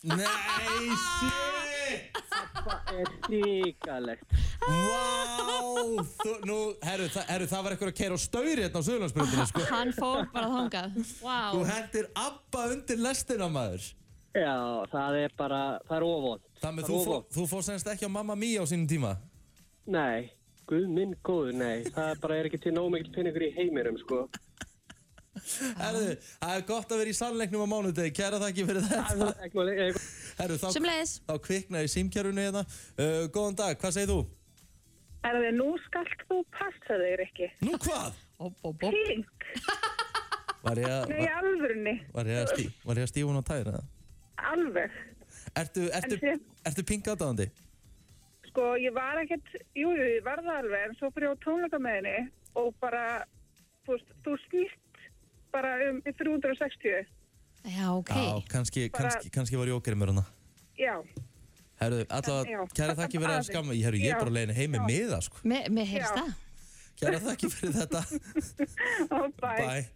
S1: Nei, shit!
S9: Það er hrikalegt.
S1: Vá! Þú- Nú, herru, það, herru, það var eitthvað að keira á stauri hérna á Suðurlandsbröndinu, sko.
S2: Hann fór bara þangað. Vá.
S1: Þú hendir Abba undir lestina maður
S9: Já, það er bara, það er ofon.
S1: Þannig að
S9: Það
S1: þú,
S9: er
S1: fó,
S9: ofan.
S1: þú fór semst ekki á Mamma Mia á sínum tíma
S9: Nei, guð minn góður, nei. Það er bara er ekki til nóg mikill pinningur í heiminum, sko.
S1: Herðu, það er gott að vera í sannleiknum á mánudegi Kæra þakki fyrir þetta
S9: Það er ekki máli, ekki máli.
S1: Herðu, þá,
S2: Sömuleiðis.
S1: þá kviknaði símkjærunni hérna uh, Góðan dag, hvað segir þú?
S10: Er þið nú skallt þú passa þig, Rikki?
S1: Nú hvað?
S2: Opp, opp, opp.
S10: Pink,
S1: Var ég, að-
S10: nei, í
S1: var,
S10: alvörunni,
S1: var ég, að stí, var ég að stífun á tæðina?
S10: alveg.
S1: Ertu, ertu,
S10: En sé-
S1: ertu pingaðdáðandi?
S10: Sko, ég var ekkert, jú, jú, ég var það alveg, en svo fyrir ég á tónleika með henni og bara, þú veist, þú snýtt bara um 360,
S2: Já, ok.
S1: Já, kannski,
S10: Bara-
S1: kannski, kannski var ég okkar mér hana
S10: já.
S1: Herðu, allavega,
S10: Já.
S1: kæra þakki fyrir að
S10: Aðeins.
S1: skamma Herðu, ég er
S10: Já.
S1: bara leiðin heim með miða, sko
S2: Mér, mér heyrst
S10: Já.
S2: það.
S1: Kæra þakki fyrir þetta
S10: Ó, bæ.
S1: Bæ.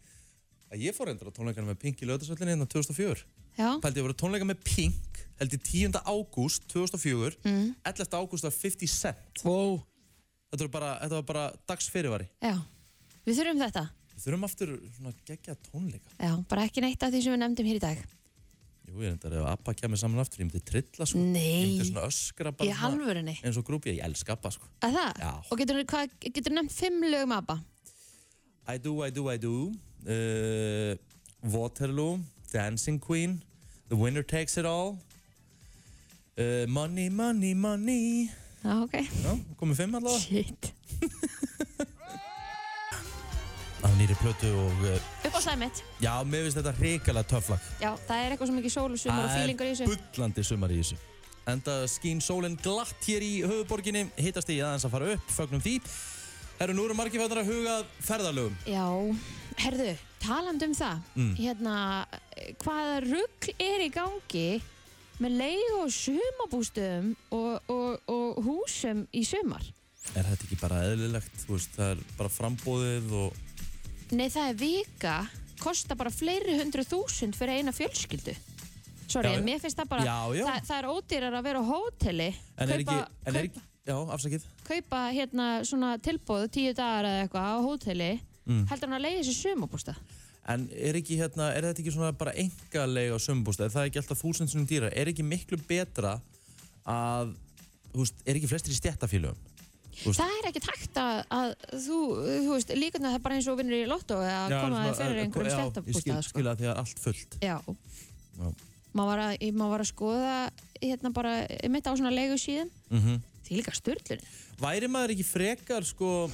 S1: Að Ég fór endur á tónleikana með Pink í lögðarsvöllinni hérna 2004.
S2: Já.
S1: Pældi ég voru tónleika með Pink, held ég 10. ágúst 2004, 11. ágúst var 50 Cent.
S6: Wow.
S1: Þetta var bara, þetta var bara dagsfyrirvari.
S2: Já, við þurfum þetta.
S1: Við þurfum aftur svona geggja tónleika.
S2: Já, bara ekki neitt af því sem við nefndum hér í dag.
S1: Jú, ég reyndar ef Abba kemur saman aftur, ég myndi trilla sko. Ég
S2: Nei.
S1: myndi svona öskra bara
S2: Í alvörunni?
S1: Eins og grúpi, ég elska Abba sko.
S2: Að það?
S1: Já.
S2: Og getur, hvað, getur nefnt fimm lögum ABBA?
S1: I do, I do, I do. Uh, Waterloo, Dancing Queen, The Winner Takes It All. Uh, money, money, money.
S2: Já, ok.
S1: Já, komið fimm allavega.
S2: Shit.
S1: Af nýri plötu og... Uh,
S2: Upp á slæmið.
S1: já, mér finnst þetta hrikalega töfflag.
S2: Já, það er eitthvað sem ekki sól og sumar og fílingur í þessu.
S1: bullandi sumar í þessu. Enda skín sólinn glatt hér í höfuborginni, hittast í aðeins að fara upp, fögnum því. Herru, nú eru margir fætnar að huga að ferðalögum.
S2: Já, herðu, taland um það.
S1: Mm.
S2: Hérna, hvaða rugg er í gangi með leigu og sumabústöðum og, og, og húsum í sumar?
S1: Er þetta ekki bara eðlilegt? Þú veist, það er bara frambóðið og...
S2: Nei, það er vika, kostar bara fleiri hundru þúsund fyrir eina fjölskyldu. Sorry,
S1: Já,
S2: mér finnst það bara,
S1: já, já.
S2: Það, það er ódýrar að vera á hóteli,
S1: En er
S2: kaupa,
S1: ekki... En er ekki já, afsakið.
S2: kaupa hérna svona tilbúð tíu dagar eða eitthvað á hóteli,
S1: Mm.
S2: heldur hann að leiði sér sumabústað.
S1: En er ekki hérna, er þetta ekki svona bara engalega á sumbústa? Er það ekki alltaf þúsund sem dýra? Er ekki miklu betra að, þú veist, er ekki flestir í stjættafélögum? Þú veist-
S2: Það er ekkert hægt að, að þú, þú veist, líkundar það er bara eins og vinnur í lottó eða að koma þér fyrir einhverjum stjættabústað,
S1: sko.
S2: sko.
S1: Skilja því að allt fullt.
S2: Já,
S1: Já.
S2: maður var, að- maður var að skoða hérna bara, mitt á svona leigu síðan,
S1: Mm
S2: því líka styrlun.
S1: Væri maður ekki frekar, sko,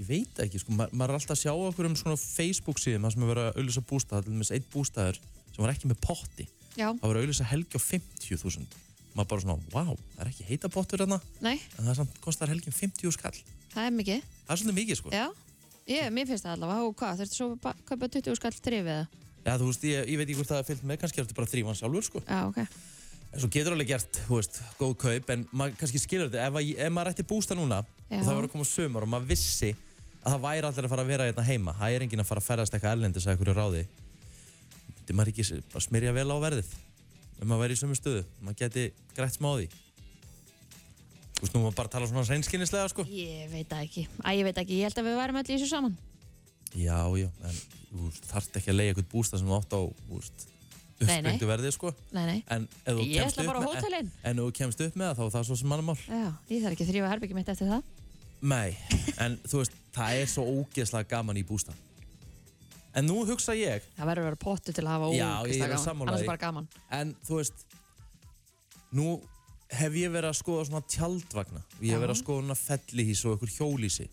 S1: ég veit ekki, sko, ma maður er alltaf að sjá okkur um svona Facebook síðum, það sem er verið að auðvisa bústað, það er til dæmis einn bústaður sem var ekki með potti.
S2: Já,
S1: Það var að auðvisa helgi á 50.000. Maður bara svona, wow, það er ekki heita pottur þarna,
S2: nei,
S1: en það samt kostar helgin 50 skall.
S2: það er mikið.
S1: Það er svolítið mikið, sko.
S2: Já, ég, mér finnst það allavega, og hvað, þurftu svo að ba- kaupa 20 skall drifið eða?
S1: Já, þú veist, ég, ég veit ekki hvort það er fyllt með, kannski er þetta bara þrývan sjálfur, sko.
S2: Já, ok.
S1: En svo getur alveg gert, þú veist, góð kaup, en maður kannski skilur þetta, ef, að, ef maður ætti bústa núna,
S2: Já.
S1: og það var að koma sumar og maður vissi að það væri allir að fara að vera hérna heima, það er enginn að fara að ferðast eitthvað erlendis að einhverju ráði, myndi maður ekki s- bara smyrja vel á verðið, ef maður væri í sömu stöðu, maður geti grætt smá á því. Þú veist, nú maður bara að tala svona reynskynnislega, sko.
S2: Ég veit það ekki. Æ, ég veit ekki, ég held að við værum öll í þessu saman.
S1: Já, já, en þú veist, þarft ekki að leiða eitthvað bústa sem þú átt á, þú veist,
S2: Nei, nei.
S1: uppspengdu verðið, sko.
S2: Nei, nei.
S1: En ef þú
S2: Ég
S1: kemst
S2: ætla
S1: upp
S2: bara á
S1: með- en-
S2: hótelin.
S1: en ef þú kemst upp með það, þá er það svo sem mannamál.
S2: Já, ég þarf ekki að þrýfa herbyggjum mitt eftir það.
S1: Nei, en þú veist, það er svo ógeðslega gaman í bústan. En nú hugsa ég,
S2: Það verður að vera pottu til að hafa
S1: Já, ég
S2: ógeðslega
S1: er
S2: gaman.
S1: sammála
S2: Annars
S1: því.
S2: er bara gaman.
S1: en þú veist, nú hef ég verið að skoða svona tjaldvagna. Ég hef verið að skoða svona fellihís og ykkur hjólísi.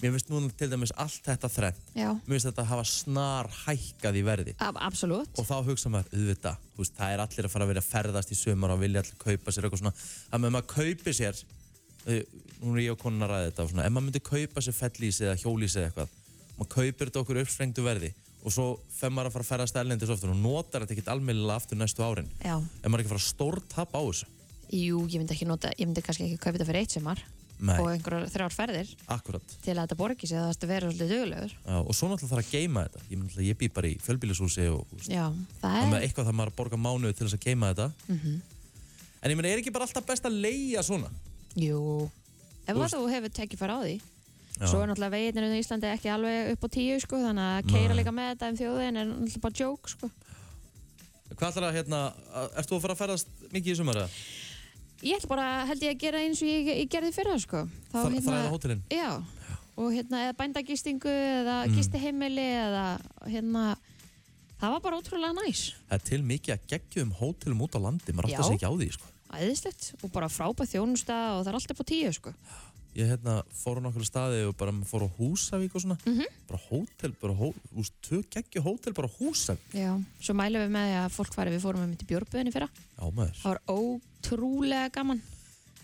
S1: Mér finnst núna til dæmis allt þetta þrennt.
S2: Já,
S1: Mér finnst þetta hafa snar hækkað í verði.
S2: ab absolutt.
S1: Og þá hugsa maður, auðvitað, þú veist, það er allir að fara að vera að ferðast í sumar og vilja allir kaupa sér eitthvað svona. Það með maður kaupi sér, eh, nú er ég og konan að ræða þetta, svona, ef maður myndi kaupa sér fellísi eða hjólísi eða eitthvað, maður kaupir þetta okkur uppsprengdu verði og svo fer maður að fara að ferðast erlendis oftur og notar þetta ekkert almennilega aftur næstu árin.
S2: Já,
S1: Ef maður er ekki að fara stór tap á þessu.
S2: jú, ég myndi ekki nota, ég myndi kannski ekki kaupa þetta fyrir eitt sumar
S1: Nei.
S2: og einhverjar þrjár ferðir
S1: Akkurat.
S2: til að þetta borgi sig, það þarfst að vera svolítið duglegur.
S1: Já, og svo náttúrulega þarf að geima þetta. Ég, myndi, ég bý bara í fjölbýlishúsi og þú veist,
S2: Já,
S1: það
S2: það
S1: með
S2: er...
S1: eitthvað þarf maður að borga mánuði til þess að geima þetta.
S2: Mm
S1: En ég meina, er ekki bara alltaf best að leia svona?
S2: Jú, ef
S1: Þú
S2: að
S1: veist-
S2: þú hefur tekið fara á því.
S1: Já.
S2: Svo er náttúrulega veginir um Íslandi ekki alveg upp á tíu, sko, þannig að keira
S1: Nei.
S2: líka með þetta um þjóðin er náttúrulega bara joke, sko.
S1: Hvað ætlar að, hérna, að- ert þú að fara að ferðast mikið í sumar eða?
S2: Ég ætla bara, held ég, að gera eins og ég, ég gerði fyrra, sko.
S1: Þar-
S2: Þá,
S1: þræða hótelin?
S2: Já, og hérna, eða bændagistingu, eða
S1: Mm.
S2: gistiheimili, eða hérna, það var bara ótrúlega næs.
S1: Það er til mikið að geggjum hótelum út á landi, maður átt
S2: Já.
S1: að segja á því, sko.
S2: Æðislegt, og bara frábæð þjónusta og það er alltaf på tíu, sko.
S1: Ég hérna, fór á nokkru staði og bara fór á Húsavík og svona,
S2: Mhm.
S1: bara hótel, bara hó, úst, tvö geggju hótel, bara á Húsavík.
S2: Já, svo mælum við með því að fólk fari, við fórum um til Björbuðinni fyrra.
S1: Já, maður.
S2: Það var ótrúlega gaman,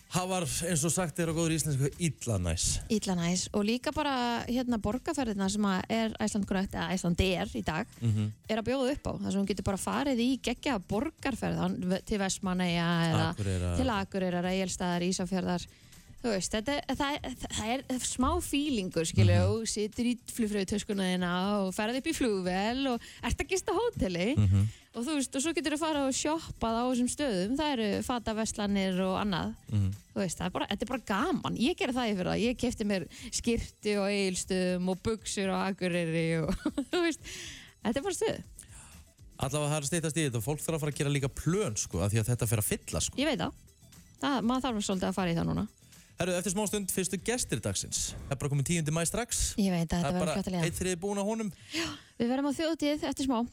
S1: Það var, eins og sagt er á góður íslensku, illa næs.
S2: illa næs, og líka bara, hérna, borgarferðina sem að er Æsland Connect, eða Æsland DR í dag,
S1: Mm -hmm.
S2: er að bjóða upp á þar sem hún getur bara farið í geggja borgarferð hann- til Vestmanneja eða
S1: Akureyrar.
S2: til Akureyrar, Egilstaðar, Ísafjörðar þú þú veist, þetta, það, það, það er smá fílingur,
S1: Mhm.
S2: skilju, mm og situr í flugfröðutöskuna þína og ferði upp í flugvel og ert að gista á hóteli
S1: Mhm.
S2: og þú veist, og svo getur þú að fara og shoppað á þessum stöðum, það eru fataveslanir og annað,
S1: Mhm.
S2: þú veist, það er bara, þetta er bara gaman, ég gerði það yfir það, ég kefti mér skirti og eigilstöðum og buksur og akureyri og þú veist, þetta er bara stöð,
S1: Allavega það er að stýttast í þetta og fólk þarf að fara að gera líka plön sko, af því að þetta fer að fylla sko.
S2: ég veit það, það maður þarf svolítið að fara í það núna.
S1: Herru, eftir smá stund fyrstu gestir dagsins. Það er bara komið 10. mæ strax.
S2: Ég veit
S1: það
S2: að þetta
S1: er
S2: verður
S1: bara
S2: fljóttalega.
S1: eitt þriði búin á honum.
S2: Við verðum á þjóðtíð eftir smá.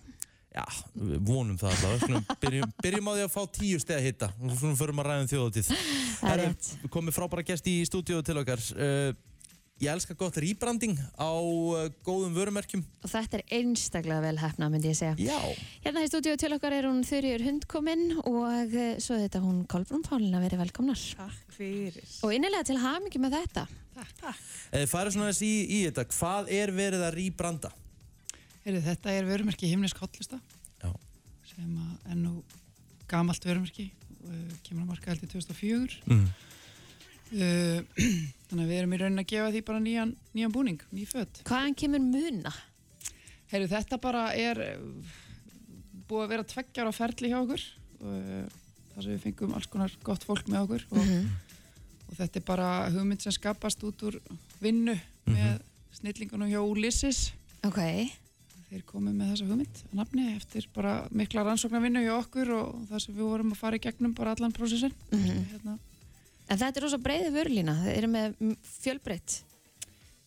S1: Já, við vonum það allavega. Skulum, byrjum, byrjum á því að fá 10 steg að hitta. og Svona förum að ræðum þjóðatíð.
S2: Það er
S1: Herru,
S2: rétt.
S1: komið frábæra gest í stúdíu til okkar. Uh, ég elska gott rýbranding á uh, góðum vörumerkjum.
S2: Og þetta er einstaklega vel hefna, myndi ég segja.
S1: Já.
S2: Hérna í stúdíu til okkar er hún Þurriur Hundkominn og eh, svo er þetta hún Kolbrún Pálina verið velkomnar. Takk fyrir. Og innilega til hamingi með þetta.
S1: Eða farið Eh, svona þess í, í þetta. Hvað er verið að rýbranda?
S11: Heyrðu, þetta er vörumerki himnesk hotlusta sem að ennú gamalt vörumerki uh, kemur að marka held í 2004
S3: Mm.
S11: uh, þannig að við erum í raunin að gefa því bara nýjan, nýjan búning, ný fött
S2: Hvaðan kemur muna?
S11: Heyrðu, þetta bara er uh, búið að vera tveggjára ferli hjá okkur uh, þar sem við fengum alls konar gott fólk með okkur og, og þetta er bara hugmynd sem skapast út úr vinnu með snillingunum hjá Ulysses
S2: Ok.
S11: Þeir komið með þessa hugmynd að nafni eftir bara mikla rannsóknarvinnu hjá okkur og það sem við vorum að fara í gegnum bara allan prósessin. hérna.
S2: Mhm. En þetta er rosa breiði vörlína. Það eru með mm, fjölbreytt.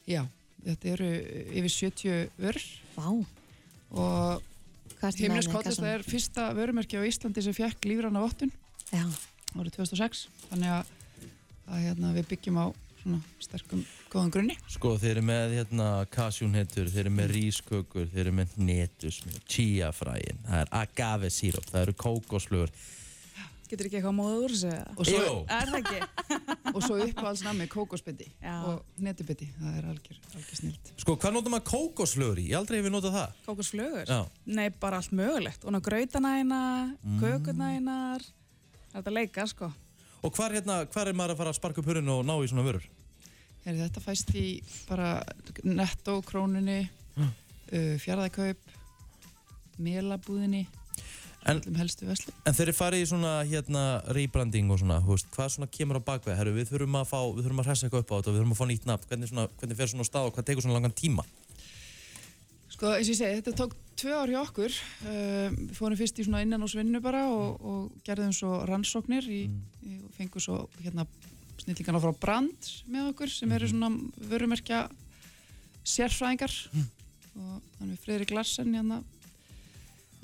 S11: Já, þetta eru eh, yfir 70 vörur.
S2: Vá.
S11: Og
S2: Hvað ertu með þarna
S11: Himnesk
S2: í
S11: Kollesta
S2: kassanum?
S11: er fyrsta vörumerki á Íslandi sem fekk lífranna vottun
S2: Já.
S11: árið 2006. Þannig að, að hérna, við byggjum á svona sterkum, góðum grunni.
S1: Sko, þeir eru með hérna kasjúnhetur, þeir eru með rískökur, þeir eru með netusmjör, chiafræin, það er agave síróp, það eru kókoslögur.
S12: Getur ekki eitthvað móður úr þessu? eða?
S11: Og svo- Jú.
S12: Er það ekki?
S11: Og svo upp á alls nami kókosbytti og netubiti. Það er algjör, algjör snilt.
S1: Sko, hvað notar maður kókoslögur í? Ég aldrei hefur notað það.
S12: Kókosflögur?
S1: Já.
S12: Nei, bara allt mögulegt. Og ná grautanæna, kökunænar, það er þetta að leika, sko.
S1: Og hvar, hérna, hvar er maður að fara að sparka upp hurinn og ná í svona vörur?
S11: Heyrðu, þetta fæst í bara netto krónunni, uh, fjaraðakaup, melabúðinni,
S1: En,
S11: öllum helstu veslu.
S1: en þeir eru farið í svona hérna rebranding og svona, þú veist, hvað svona kemur á bakveg? Herru, við þurfum að fá, við þurfum að hressa eitthvað upp á þetta, við þurfum að fá nýtt nafn, hvernig, svona, hvernig fer svona á stað og hvað tekur svona langan tíma?
S11: Sko, eins og ég segi, þetta tók tvö ár hjá okkur. Uh, við fórum fyrst í svona innan og svinnu bara og, og gerðum svo rannsóknir í, í, og fengum svo hérna snillingana frá brand með okkur sem eru svona vörumerkja sérfræðingar og þannig Friðrik Larsen hérna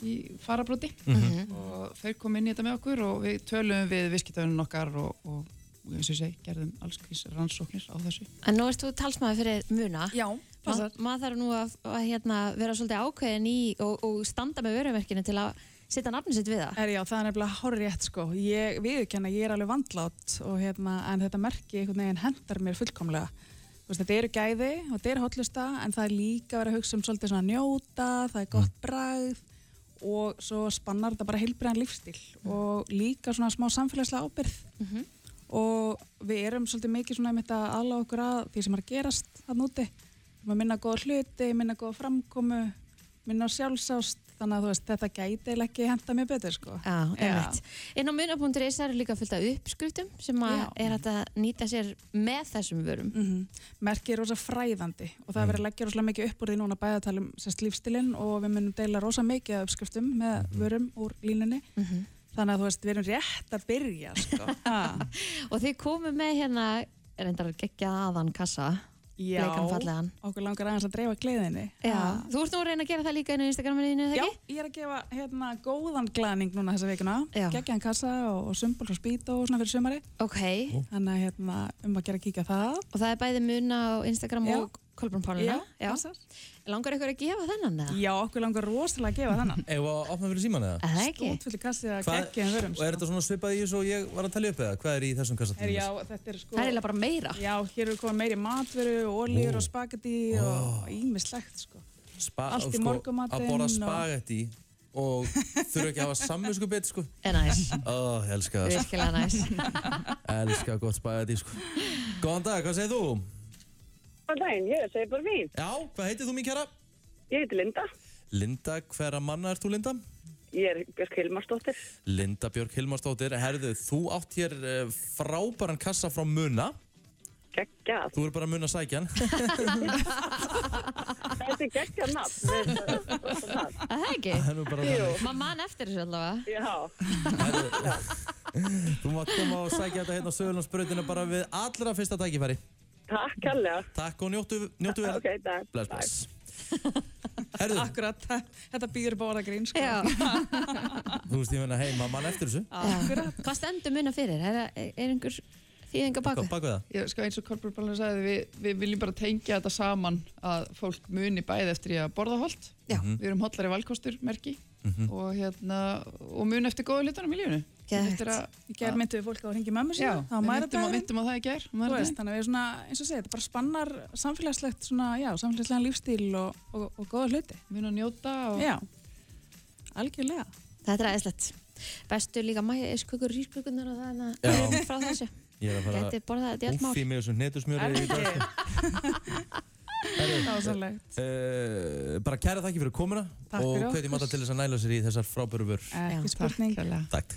S11: í farabróti
S3: Mhm.
S11: og þeir kom inn í þetta með okkur og við töluðum við viðskiptöfunum okkar og, og, og eins og ég segi, gerðum alls kvís rannsóknir á þessu.
S2: En nú ert þú talsmaður fyrir muna.
S12: Já,
S2: passar. Ma, maður þarf nú að, að hérna, vera svolítið ákveðin í og, og standa með vörumerkinu til að setja nafnum sitt við það.
S12: Er já, það er nefnilega horrétt, sko. Ég viðurkenna, ég er alveg vandlátt og hérna, en þetta merki einhvern veginn hendar mér fullkomlega. Þú Veist, þetta eru gæði og þetta eru hotlusta, en það er líka verið að hugsa um svolítið svona njóta, það er gott bragð og svo spannar þetta bara heilbriðan lífstíl og líka svona smá samfélagslega ábyrð. og við erum svolítið mikið svona einmitt að ala okkur að því sem er að gerast þann úti. Við erum að minna góða hluti, minna góða framkomu, minna á sjálfsást, þannig að þú veist, þetta gæti eiginlega ekki henda mér betur, sko.
S2: Já, einmitt. Inn á muna.is eru líka fullt af uppskrutum sem að er hægt að nýta sér með þessum vörum.
S12: Mm Merkið er rosa fræðandi og það er verið
S11: Mhm.
S12: að leggja rosalega mikið upp úr því núna bæði að tala um sérst lífstilinn og við munum deila rosa mikið af uppskriftum með vörum úr línunni.
S2: Mhm.
S12: Þannig að þú veist, við erum rétt að byrja, sko.
S2: og þið komum með hérna, reyndar geggjað aðan kassa,
S12: Já,
S2: bleikan fallegan.
S12: okkur langar aðeins að dreifa gleðinni.
S2: Já, þú ert nú að reyna að gera það líka inn á Instagraminu þínu,
S12: Já,
S2: þegar ekki?
S12: ég er að gefa hérna góðan glæning núna þessa vikuna. Gekkjaðan kassa og, og sumbul og spýta og svona fyrir sumari.
S2: Ok.
S12: Þannig að hérna um að gera að kíka það.
S2: Og það er bæði muna á Instagram
S12: Já.
S2: og Kolbrún Pálina.
S12: Já,
S2: Já. Langar ykkur að gefa þennan eða?
S12: Já, okkur langar rosalega að gefa þennan.
S1: Eða að opna fyrir síman eða?
S2: Það ekki?
S12: Útfyllir kassi að
S1: Hvað-
S12: gekkjaðan vörum. sko.
S1: Og er þetta svona svipað í þessu og ég var að tala upp eða? Hvað er í þessum kassa?
S12: Er, já, þetta er sko...
S2: Það er eiginlega bara meira.
S12: Já, hér eru komið meiri matveru, ólýr
S1: Ó.
S12: og spagetti og ímislegt sko.
S1: Spa,
S12: allt í morgunmatinn
S1: Að borða
S12: og-
S1: spagetti og þurfa ekki að hafa samvinsku bit sko.
S2: Er næs.
S1: Ó, ég elska það sko.
S2: Virkilega næs.
S1: Elska gott spagetti sko. Góðan dag, hvað segir þú?
S13: Góðan daginn, ég segi bara vín.
S1: Já, hvað heitir þú mín kæra?
S13: Ég heiti Linda,
S1: Linda, hverra manna ert þú Linda?
S13: ég er Björk Hilmarsdóttir.
S1: Linda Björk Hilmarsdóttir, herðu, þú átt hér eh, frábæran kassa frá Muna.
S13: Geggjað.
S1: Þú eru bara að Muna sækjan.
S13: Þetta er geggja nafn.
S2: Það er ekki.
S1: Það er nú bara Jú. þannig.
S2: Maður man eftir þessu allavega.
S13: Já.
S1: þú mátt koma og sækja þetta hérna á Söðurlandsbröðinu bara við allra fyrsta tækifæri.
S13: Takk, kallega.
S1: Takk og njóttu, njóttu við.
S13: Ok, takk.
S1: Bless, bless.
S12: Akkurat, þetta býður bara að grín, sko.
S1: Þú veist, ég meina, hei, maður mann eftir þessu.
S2: Akkurat. Hvað stendur munna fyrir? Er, er einhver þýðinga
S1: Hvað
S2: bakvið?
S1: bak við það?
S11: Ég, sko, eins og Kolbjörn Bálin sagði, við, við viljum bara tengja þetta saman að fólk muni bæði eftir ég að borða holdt.
S2: Já.
S11: Við erum hollari valkostur, merki, og, hérna, og muni eftir góðu hlutunum í lífinu.
S12: Geðveikt.
S11: Eftir að-
S12: Í gær myndum við fólk á að hringja í mömmu sína,
S11: Já,
S12: það var
S11: við
S12: mæðradagurinn.
S11: myndum að- myndum á það í gær. um
S12: Þú
S11: mæðradaginn.
S12: veist, þannig að við svona, eins og segja, þetta bara spannar samfélagslegt svona, já, samfélagslegan lífstíl og, og, og góða hluti.
S11: Muna að njóta og...
S12: Já, algjörlega.
S2: Þetta er aðeinslegt. Bestu líka mæjaiskökur, rískökunar og það en að
S1: Já.
S2: erum frá þessu.
S1: Ég er að
S2: Gæti borðað þetta í
S1: fara
S2: allt mál.
S1: úff í mig þessum
S2: Er
S1: hnetusmjöri í dag.
S2: ekki?
S12: Dásamlegt.
S1: Uh, bara kæra þakki fyrir komuna
S12: Takk
S1: og
S12: fyrir okkur. Eh,
S1: hvetjum alla til þess að næla sér í þessar frábæru vörur.
S12: Ekki spurning.
S1: Takk.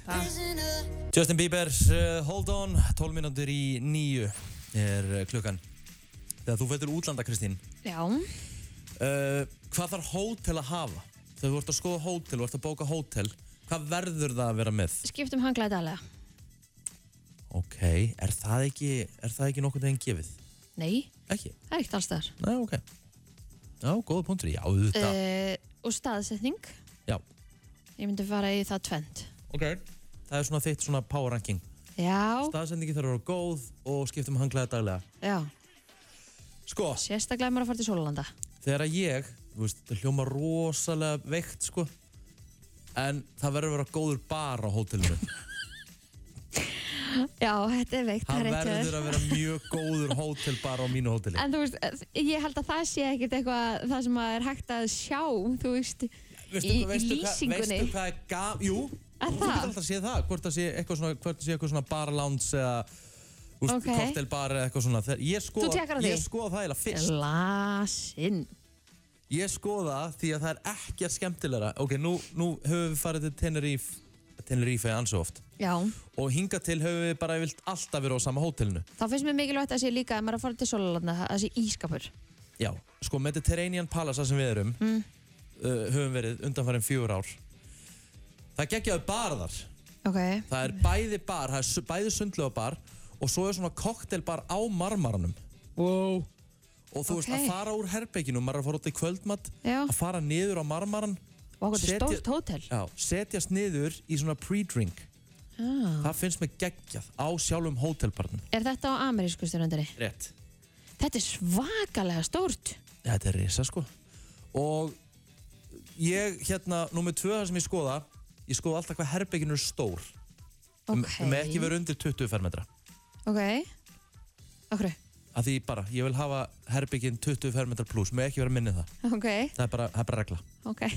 S1: Justin Bieber, uh, Hold On, 12 mínútur í nýju er uh, klukkan. Þegar þú fættur útlanda, Kristín,
S2: Já.
S1: uh, hvað þarf hótel að hafa? Þegar þú ert að skoða hótel, þú ert að bóka hótel, hvað verður það að vera með?
S2: Skiptum hanglaði daglega.
S1: Ok, er það ekki, er það ekki nokkuð veginn gefið?
S2: Nei,
S1: Ekki?
S2: það er ekkert alls þar.
S1: Nei, ok. Já, góða punktur, já, auðvitað.
S2: Uh, og staðsetning.
S1: Já.
S2: Ég myndi fara í það tvend.
S1: Ok. Það er svona þitt svona power ranking.
S2: Já,
S1: Staðsendingi þarf að vera góð og skiptum hanglaði daglega.
S2: já.
S1: Sko.
S2: Sérstaklega ef maður er að fara til Sólalanda.
S1: þegar að ég, þú veist, það hljóma rosalega veikt, sko, en það verður að vera góður bar á hótelinu.
S2: Já, þetta er veikt.
S1: Það
S2: er rétt hjá
S1: verður
S2: þér.
S1: að vera mjög góður hótelbar á mínu hóteli.
S2: En þú veist, eh, ég held að það sé ekkert eitthvað það sem að er hægt að sjá, þú veist, í, í lýsingunni.
S1: Veistu hvað er gaf, jú, þú getur alltaf að sé það, hvort það sé eitthvað svona, hvort það sé eitthvað svona bar lounge eða, þú veist,
S2: Ok.
S1: okay. cocktailbar eða eitthvað svona. Þegar- Ég
S2: Þú
S1: skoða,
S2: tekur á því?
S1: ég skoða það eiginlega fyrst.
S2: Lasin.
S1: Ég skoða því að það er ekkert skemmtilegra. Ok, nú, nú höfum við farið til Tenerife, Tenerife er ansvo oft.
S2: Já,
S1: og hinga til höfum við bara vilt alltaf verið á sama hótelinu.
S2: þá finnst mér mikilvægt að sé líka ef maður er að fara til Sólalanda, að sé ískapur.
S1: Já, sko Mediterranean Palace þar sem við erum,
S2: Mm.
S1: uh, höfum verið undanfærin fjör ár. Það geggjaðu bar þar.
S2: Ok.
S1: Það er bæði bar, það er su- bæði sundlega bar og svo er svona koktelbar á marmaranum. Wow. Og þú veist, að
S2: Ok.
S1: fara úr herberginu, maður er að fara út í kvöldmatt,
S2: Já.
S1: að fara niður á marmaran.
S2: Og ákveð
S1: setja-
S2: þetta er stórt hótel.
S1: Já, setjast niður í svona pre-drink.
S2: Ah.
S1: Það finnst mér geggjað á sjálfum hótelbarnum.
S2: Er þetta á amerísku stjórnandari?
S1: Rétt.
S2: Þetta er svakalega stórt.
S1: Þetta er risa sko Og ég hérna Númer tvö það sem ég skoða Ég skoða alltaf hvað herbyggin eru stór
S2: Ok.
S1: Með ekki vera undir 20 fermetra
S2: Ok. Okkur.
S1: Af því bara, ég vil hafa herbyggin 20 fermetra pluss Með ekki vera minni en það
S2: Ok.
S1: Það er bara, það er bara regla
S2: Ok.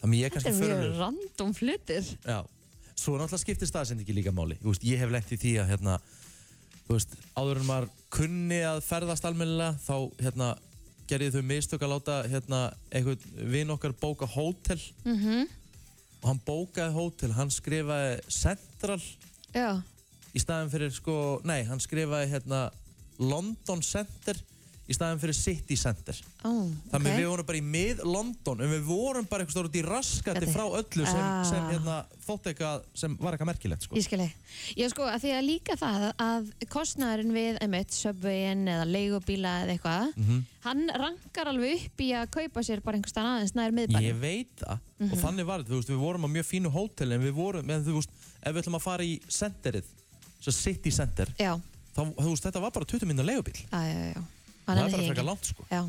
S1: Þannig ég er
S2: Þetta
S1: kannski
S2: er mjög
S1: förulur
S2: random hlutir.
S1: Já Svo náttúrulega skiptir staðsendingi líka máli Þú veist, Ég hef lengt í því að hérna Þú veist, áður en maður kunni að ferðast almennilega Þá hérna gerði þau mistök að láta hérna einhvern vinn okkar bóka hótel
S2: Mm
S1: og hann bókaði hótel, hann skrifaði Central
S2: Já.
S1: í staðin fyrir sko, nei, hann skrifaði hérna London Center í staðin fyrir City Center
S2: Oh,
S1: þannig við vorum bara í mið London en við vorum bara eitthvað stórt í raskati
S2: Þetta-
S1: frá öllu sem,
S2: Ah.
S1: sem hérna, þótt eitthvað sem var eitthvað merkilegt sko.
S2: Ég skil þig. Já sko, að því að líka það að kostnæðurinn við einmitt subwayin eða leigubíla eða eitthvað,
S1: Mhm.
S2: hann rankar alveg upp í að kaupa sér bara einhver stann aðeins nær miðbæri.
S1: Ég veit það
S2: Mhm.
S1: og þannig var þetta, þú veist, við vorum á mjög fínu hótel en við vorum, en þú veist, ef við ætlum að fara í senderið, svo City Center
S2: Já,
S1: þá, þú veist, þetta var bara 20 minna leigubíl
S2: já, já, já. Hann
S1: það
S2: nenni
S1: er bara
S2: því
S1: frekar
S2: ekki.
S1: langt sko
S2: Já.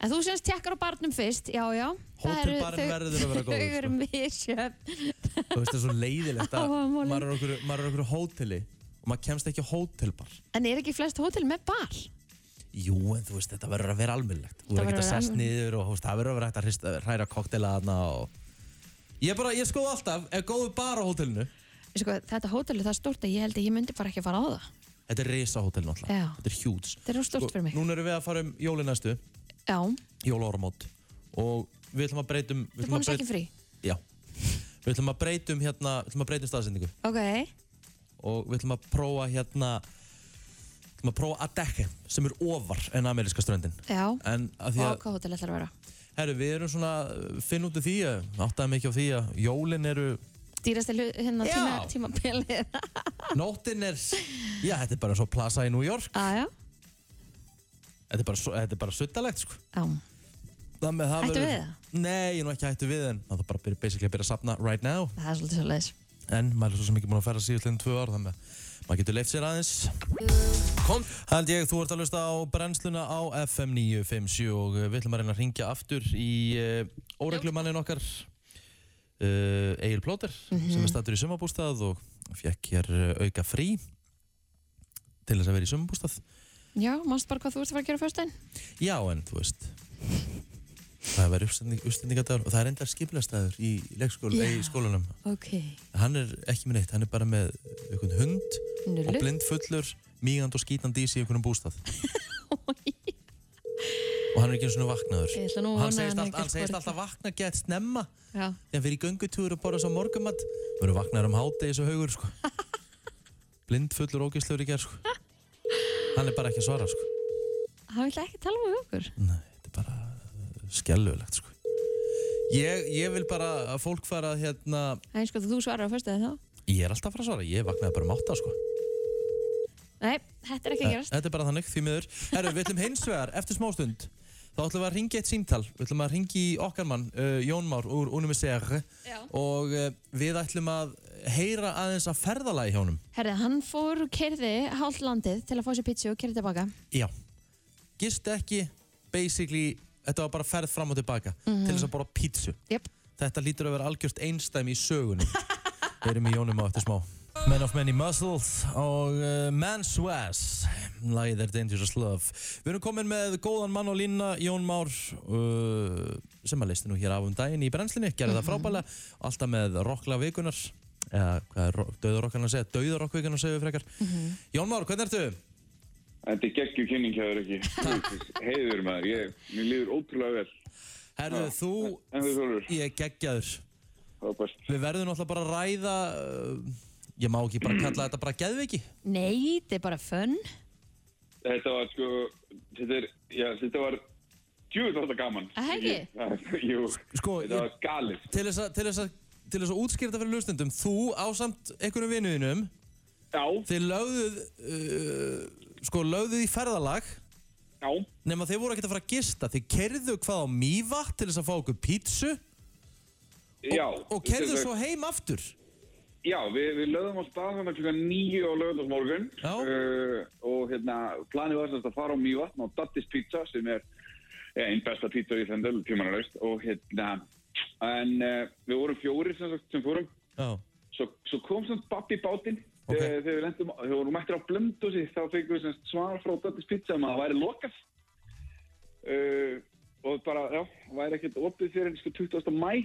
S2: En þú semst tekkar á barnum fyrst, já, já. Það
S1: Hótelbarinn
S2: eru- þau-
S1: verður að vera góður, sko.
S2: Þau eru misjöfn.
S1: Þú veist það er svo leiðilegt að
S2: Áhugamálin.
S1: maður er okkur, maður er okkur hóteli og maður kemst ekki á hótelbar.
S2: En er ekki flest hótel með bar?
S1: Jú, en þú veist, þetta verður að vera almennilegt. Þú
S2: Þetta
S1: verður ekki að
S2: verður að
S1: sest
S2: vera
S1: niður og þú veist, það verður að vera hægt að hrista, hræra koktela þarna og... Ég bara, ég skoði alltaf, er góðu bar á hótelinu?
S2: Sko, þetta hótel er það stórt að ég held að ég myndi bara ekki að fara á það.
S1: Þetta er resa hótel náttúrulega.
S2: Já.
S1: Þetta er huge.
S2: Þetta er of stórt fyrir mig.
S1: Núna erum við að fara um jólin næstu,
S2: Já,
S1: jólaormót og við ætlum að breytum...
S2: þú er búin að sækja frí.
S1: Já. Við ætlum að breytum hérna, við ætlum að breytum staðsendingu
S2: Ok,
S1: og við ætlum að prófa hérna, við ætlum að prófa að dekka sem er ofar en ameríska ströndin.
S2: já.
S1: En
S2: Og
S1: að því að,
S2: hvað hótel ætlar að vera?
S1: herru, við erum svona, uh, finn út af því, áttaði mikið á því að jólin eru,
S2: Dýrasti hlu- hérna
S1: Já.
S2: tíma, tímabilið. Ah.
S1: nóttin er, já, þetta er bara svo plasa í New York,
S2: Aja,
S1: þetta er bara, svo- þetta er bara suttalegt, sko.
S2: já.
S1: Það með það
S2: Hættu
S1: verður-
S2: við það?
S1: Nei, ég er nú ekki hættu við en það er bara að byrja, basically að byrja að sapna right now
S2: Það er svolítið svolítið.
S1: En maður er svo sem ekki búin að ferða síðast liðin tvö ár þannig að maður getur leift sér aðeins Kom Held ég, þú ert að lusta á brennsluna á FM 957 og eh, við ætlum að reyna að ringja aftur í uh, óreglumannin okkar uh, Egil Plóter sem er stattur í sumabústað og fekk hér eh, auka frí til þess að vera í sumabústað
S2: Já, mannst bara hvað þú ert að fara að gera á föstudaginn?
S1: Já, en þú veist Það verður uppstending, uppstendingadagur og það er enda skipilastæður í leikskóla,
S2: Já.
S1: í skólanum.
S2: Ok.
S1: Hann er ekki með neitt, hann er bara með einhvern hund
S2: Nullu.
S1: og blindfullur, mígand og skítandi í sig í einhvernum bústað. og hann er ekki eins og vaknaður.
S2: Ég ætla nú
S1: Og
S2: að
S1: hann
S2: vona að
S1: segist,
S2: hann
S1: allt, hann
S2: ekki
S1: segist
S2: skori.
S1: alltaf vakna gett snemma
S2: Já.
S1: þegar hann fyrir í göngutúr og borða svo morgumat. Verður vaknaður um hádegi svo haugur, sko. blindfullur og ógislur í gerð, sko. Hann er bara ekki að svara, sko.
S2: Hann vill ekki tala um við okkur.
S1: Skelluðlegt, sko. Ég, ég vil bara að fólk fara að hérna,
S2: Það er sko þú svarar á föstudaginn þá.
S1: ég er alltaf að fara að svara, ég vaknaði bara um átta sko.
S2: Nei, þetta er ekki að gerast.
S1: Þetta er bara þannig, því miður. Herru, við ætlum hins vegar, eftir smástund, þá ætlum við að ringa eitt símtal, við ætlum að ringa í okkar mann, uh, Jón Már, úr Unimisere og uh, við ætlum að heyra aðeins að ferðalagi hjá honum.
S2: Herði, hann fór og kerði hálft landið til að fá sér pítsu og kerði tilbaka.
S1: Já. Gist ekki, basically, þetta var bara ferð fram og tilbaka
S2: Mhm.
S1: til þess að borða pítsu.
S2: Jep.
S1: Þetta lítur að vera algjörst einstæmi í sögunni. Við erum í Jónum á eftir smá. Men of Many Muscles og uh, Man's West, lagið er Dangerous Love. Við erum komin með góðan mann og línna, Jón Már, uh, sem að leisti nú hér af um daginn í brennslinni, gerði það frábælega, alltaf með rockla vikunar, eða hvað er döðurokkarna að segja, döðurokkvikunar segja við frekar. Jón Már, hvernig ertu?
S14: Þetta er geggjur kynning hjá þér ekki. Heiður maður, ég, mér líður ótrúlega vel.
S1: Herðu, þú...
S14: En þú Þorur?
S1: Ég er geggjaður.
S14: Frábært.
S1: Við verðum náttúrulega bara að ræða, uh, ég má ekki bara kalla þetta bara geðviki.
S2: Nei, þetta er bara fönn.
S14: Þetta var sko, þetta er, já, þetta var djúvill átt að gaman.
S2: Að það ekki?
S14: Ég- Jú,
S1: sko,
S14: þetta var galið.
S1: Til þess að, til þess að, til þess að útskýra þetta fyrir hlustendum, þú ásamt einhvernum vinnuðinum,
S14: Já.
S1: þið lögðuð, uh, sko, lögðuð í ferðalag.
S14: Já.
S1: Nefn að þið voru ekkert að fara að gista, þið kerðu hvað á mývat til þess að fá okkur pítsu
S14: Já.
S1: og kerðu svo heim aftur.
S14: Já, við, við lögðum á stað hann klukkan nýju á lögðarsmorgun uh, og hérna, planið var semst að fara á Mývatn og Dattis Pizza sem er ja, einn besta pizza í Íslandu, tímanarlaust og hérna, en uh, við vorum fjóri sem, sagt, sem fórum
S1: Já.
S14: svo, svo kom sem babbi bátinn okay. þegar við lendum, þegar við vorum mættir á blöndúsi þá fengum við sem sagt svar frá Dattis Pizza um að það væri lokað uh, og bara, já, væri ekkert opið fyrir sko 20. mæ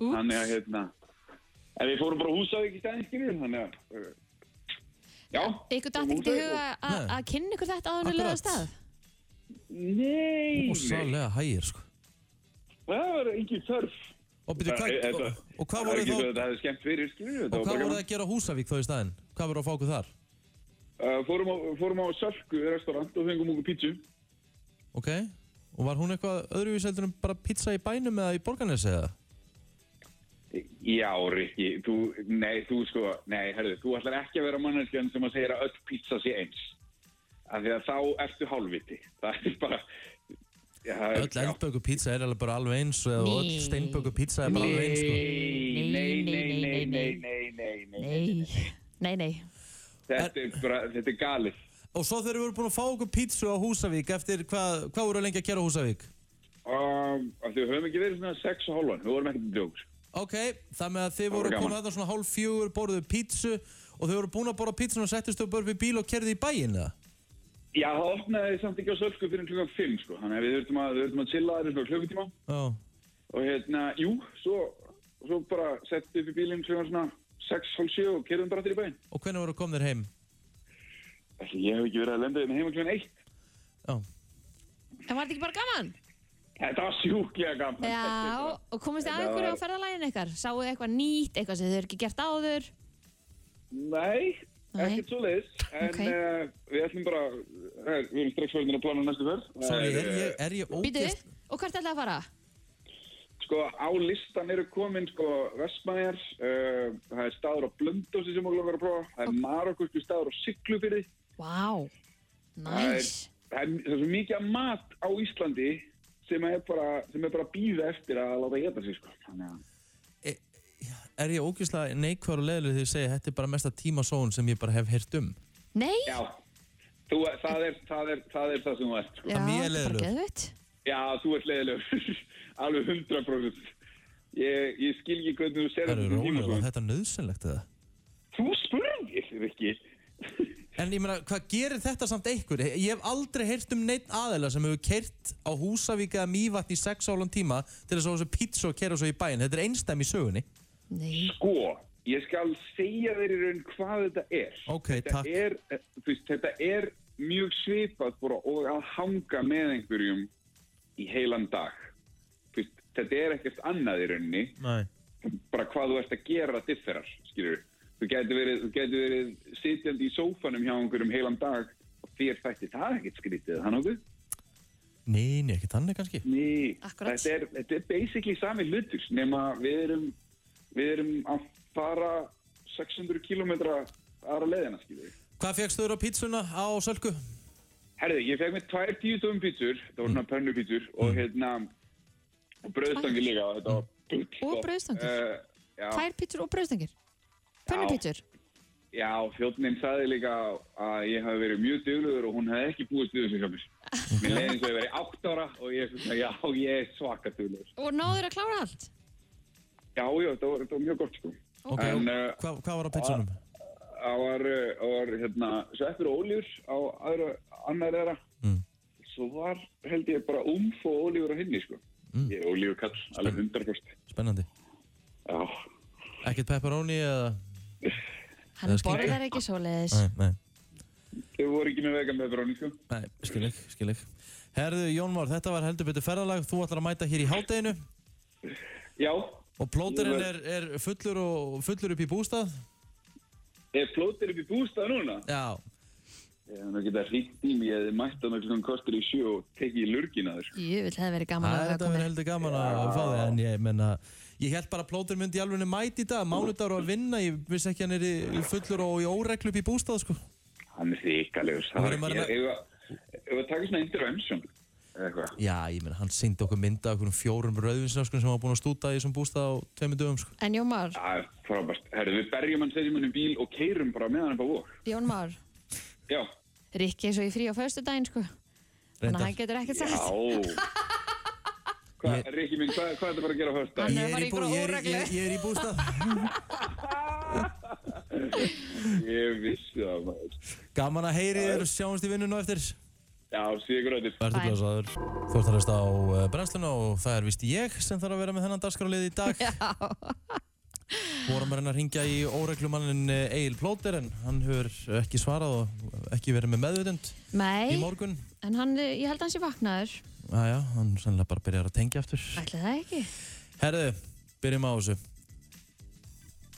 S14: þannig að hérna En við fórum bara á Húsavík í stæðin, skilur þannig að... Uh, já,
S2: Ykkur datt ekkert í huga að- að kynna ykkur þetta áður en við lögum af stað.
S14: Nei.
S1: Og sálega hægir, sko.
S14: það var engin þörf. Eh,
S1: Og byrju, hvað-
S14: Þetta-
S1: og- og hvað
S14: það er
S1: voru
S14: ekki
S1: þá-
S14: svo að Þetta hefði skemmt fyrir, skilur
S1: Og hvað voru það að gera á Húsavík þá í staðinn? Hvað voru að fá okkur þar?
S14: Uh, fórum, á, fórum á Sölku restaurant og fengum okkur pítsu.
S1: Ok, og var hún eitthvað öðruvísi heldur en bara pizza í bænum eða í borgarnes eða?
S14: Já, Rikki, þú, nei, þú sko, nei, herðu, þú ætlar ekki að vera manneskjan sem að segja að öll pizza sé eins. Af því að þá ertu hálfviti. Það er bara... Já, það er-
S1: Öll eldböku pizza er alveg bara alveg eins og öll
S14: Nei.
S1: steinböku pizza er bara alveg eins sko.
S14: Nei, nei, nei, nei, nei, nei, nei, nei, nei,
S2: Nei, nei.
S14: Þetta er bara, þetta er galið.
S1: Og svo þegar við vorum búin að fá okkur pítsu á Húsavík eftir hvað, hvað voru lengi að gera á Húsavík?
S14: Um, af því við höfum ekki verið svona 6 og hálfan, við vorum ekkert að djóks.
S1: Ok, það með að þið voru
S14: gaman.
S1: komið að það svona hálf fjögur, borðuðu pítsu og þau voru búin að borða pítsun og settist upp upp í bíl og kerði í bæinn eða?
S14: Já, það opnaði samt ekki á sölku fyrir klukkan 5, sko, þannig að við þurftum að, við þurftum að chilla aðeins svona klukkutíma
S1: Já.
S14: og hérna, jú, svo, svo bara settum við upp í bílinn klukkan svona 6, hálf 7 og kerðum bara til í bæinn.
S1: Og hvernig voru komið þér heim?
S14: Ég hef ekki verið að lenda þeim heima kljóðan eitt.
S2: En var þetta ekki bara gaman?
S14: Þetta var sjúklega gaman.
S2: Já, og komist þið að
S14: Þetta
S2: einhverju
S14: var-
S2: á ferðalægin ykkar? Sáu þið eitthvað nýtt, eitthvað sem þið hefur ekki gert áður?
S14: Nei, ekkert svo leiðis. En
S2: Ok.
S14: eh, við ætlum bara, eh, við erum strax fyrir að plana næstu ferð. Eh,
S1: Sorry,
S14: Það
S1: er ég, er ég
S2: Býtu,
S1: ógæst?
S2: og hvert ætlaði að fara?
S14: Sko, á listan eru komin, sko, Vestmæjar, uh, það er staður á Blöndósi sem okkur langar að prófa, það er okay. Marokkurski staður á Siglufyrði.
S2: Vá, wow.
S14: það er, það er, það er svo mikið af mat á Íslandi sem er bara, sem er bara að býða eftir að láta geta sig, sko. Þannig að,
S1: Er ég ógæstlega neikvar og leðileg þegar ég segi þetta er bara mesta tímasón sem ég bara hef heyrt um?
S2: Nei?
S14: Já, þú, það, er, það, er, það er það sem þú ert, sko.
S2: geðvitt.
S14: Já, þú ert leiðilegur. Alveg 100%. Ég, ég skil ekki hvernig þú
S1: Það
S14: serður
S1: eru rólega, var þetta nöðsynlegt eða?
S14: Þú spurðir, Rikki.
S1: En ég meina, hvað gerir þetta samt einhver? Ég hef aldrei heyrt um neitt aðeila sem hefur keirt á Húsavík eða Mývatn í sex álan tíma til þess að þessu pizza og keira svo í bæinn. Þetta er einstæm í sögunni.
S2: Nei.
S14: Sko, ég skal segja þér í raun hvað þetta er.
S1: Ok,
S14: þetta
S1: takk.
S14: Er, eh, þú veist, þetta er mjög svipað bara og að hanga með einhverjum í heilan dag. Þú Veist, þetta er ekkert annað í rauninni.
S1: Nei.
S14: bara hvað þú ert að gera differar, skilur við. Þú gæti verið, þú gæti verið sitjandi í sófanum hjá einhverjum heilan dag og þér fætti það ekkert skrítið, hann okkur?
S1: Nei, nei, ekki þannig kannski.
S14: Ný, þetta er, þetta er basically sami hlutur, nema við erum, við erum að fara 600 km aðra leiðina, skilur við.
S1: Hvað fegst þurra pizzuna á Sölku?
S14: Herði, ég fekk mér tvær tíutöfum pítsur, það voru svona pönnupítsur og hérna, og bröðstangi líka, þetta var bull.
S2: Og
S14: gott.
S2: brauðstangir?
S14: Sko, Eh, já.
S2: Tvær pítsur og bröðstengir? Pönnupítsur?
S14: Já, þjóttnin sagði líka að ég hafi verið mjög duglugur og hún hefði ekki búist við þessu hjá mér. Mér leiði eins og ég verið átt ára og ég svona, já, ég er svaka duglugur.
S2: Og náður að klára allt?
S14: Já, já, þetta var, þetta var mjög gott, sko.
S1: Ok,
S14: En,
S1: og
S14: eh,
S1: hvað, hvað var á pizzunum?
S14: Það var, uh, það var, hérna, sveppur og ólífur á aðra, annar eðra. Svo var, held ég, bara umf og ólífur á hinni, sko. Ég er ólífur kall, alveg 100%.
S1: Spennandi.
S14: Já.
S1: Ekkert pepperoni eða...
S2: Hann
S1: eða skinka?
S2: borðar ekki svoleiðis.
S1: Nei, nei.
S14: Þau voru ekki með vegan með bróni, sko.
S1: Nei, skil ekki, skil ekki. Herðu, Jón Már, þetta var heldur betur ferðalag. Þú ætlar að mæta hér í hádeginu
S14: Já.
S1: og plóterinn er, er fullur, og, fullur upp í bústað.
S14: Er plótir upp í bústað núna?
S1: Já.
S14: Ég hef nú getað hringt í mig eða mætt á náttúrulega kostur í sjö og tekið í lurgina þér.
S2: Jú, vil hefði verið gaman
S1: Það
S2: að
S1: er
S2: hafa
S1: þetta verið
S2: komið.
S1: heldur gaman að fá þig, en ég menna, ég held bara að plótur myndi í alveg mæti í dag, mánudagur var að vinna, ég vissi ekki að hann er í fullur og í óreglu upp í bústað, sko.
S14: Hann er þykalegur. Það var ekki, ef ef við taka svona intervention eða eitthvað.
S1: Já, ég menna, hann syndi okkur mynda okkur um fjórum rauðvinsnöskunum sem var búin að stúta í þessum bústað á tveimur dögum, sko.
S2: En Jón Már,
S14: Það er frábært. Herru, við berjum hann, setjum hann í bíl og keyrum bara með hann upp á vók.
S2: Jón Már,
S14: Já.
S2: Rikki er svo í frí á föstudaginn, sko. Þannig að hann getur ekkert sagt.
S14: Já. Hvað, Rikki minn, hvað, hvað er þetta bara að gera á hösta?
S2: Hann er Ég er bara í í bú- einhverju ég er- óreglu.
S1: ég- ég er í bústað.
S14: ég vissi það, maður.
S1: Gaman að heyri þér og sjáumst í vinnun og eftir.
S14: Já, sé ykkur öðru.
S1: Verður blessaður. Þú ert að hlusta á eh, brennsluna og það er vist ég sem þarf að vera með þennan dagskrálið í dag. Vorum að reyna að ringja í óreglumannin eh, Egil Plóter en hann hefur ekki svarað og ekki verið með meðvitund.
S2: Nei,
S1: Í morgun.
S2: en hann, ég held að hans sé vaknaður.
S1: Æja, hann sannlega bara byrjar að tengja aftur.
S2: Ætli það ekki?
S1: Herðu, byrjum á þessu.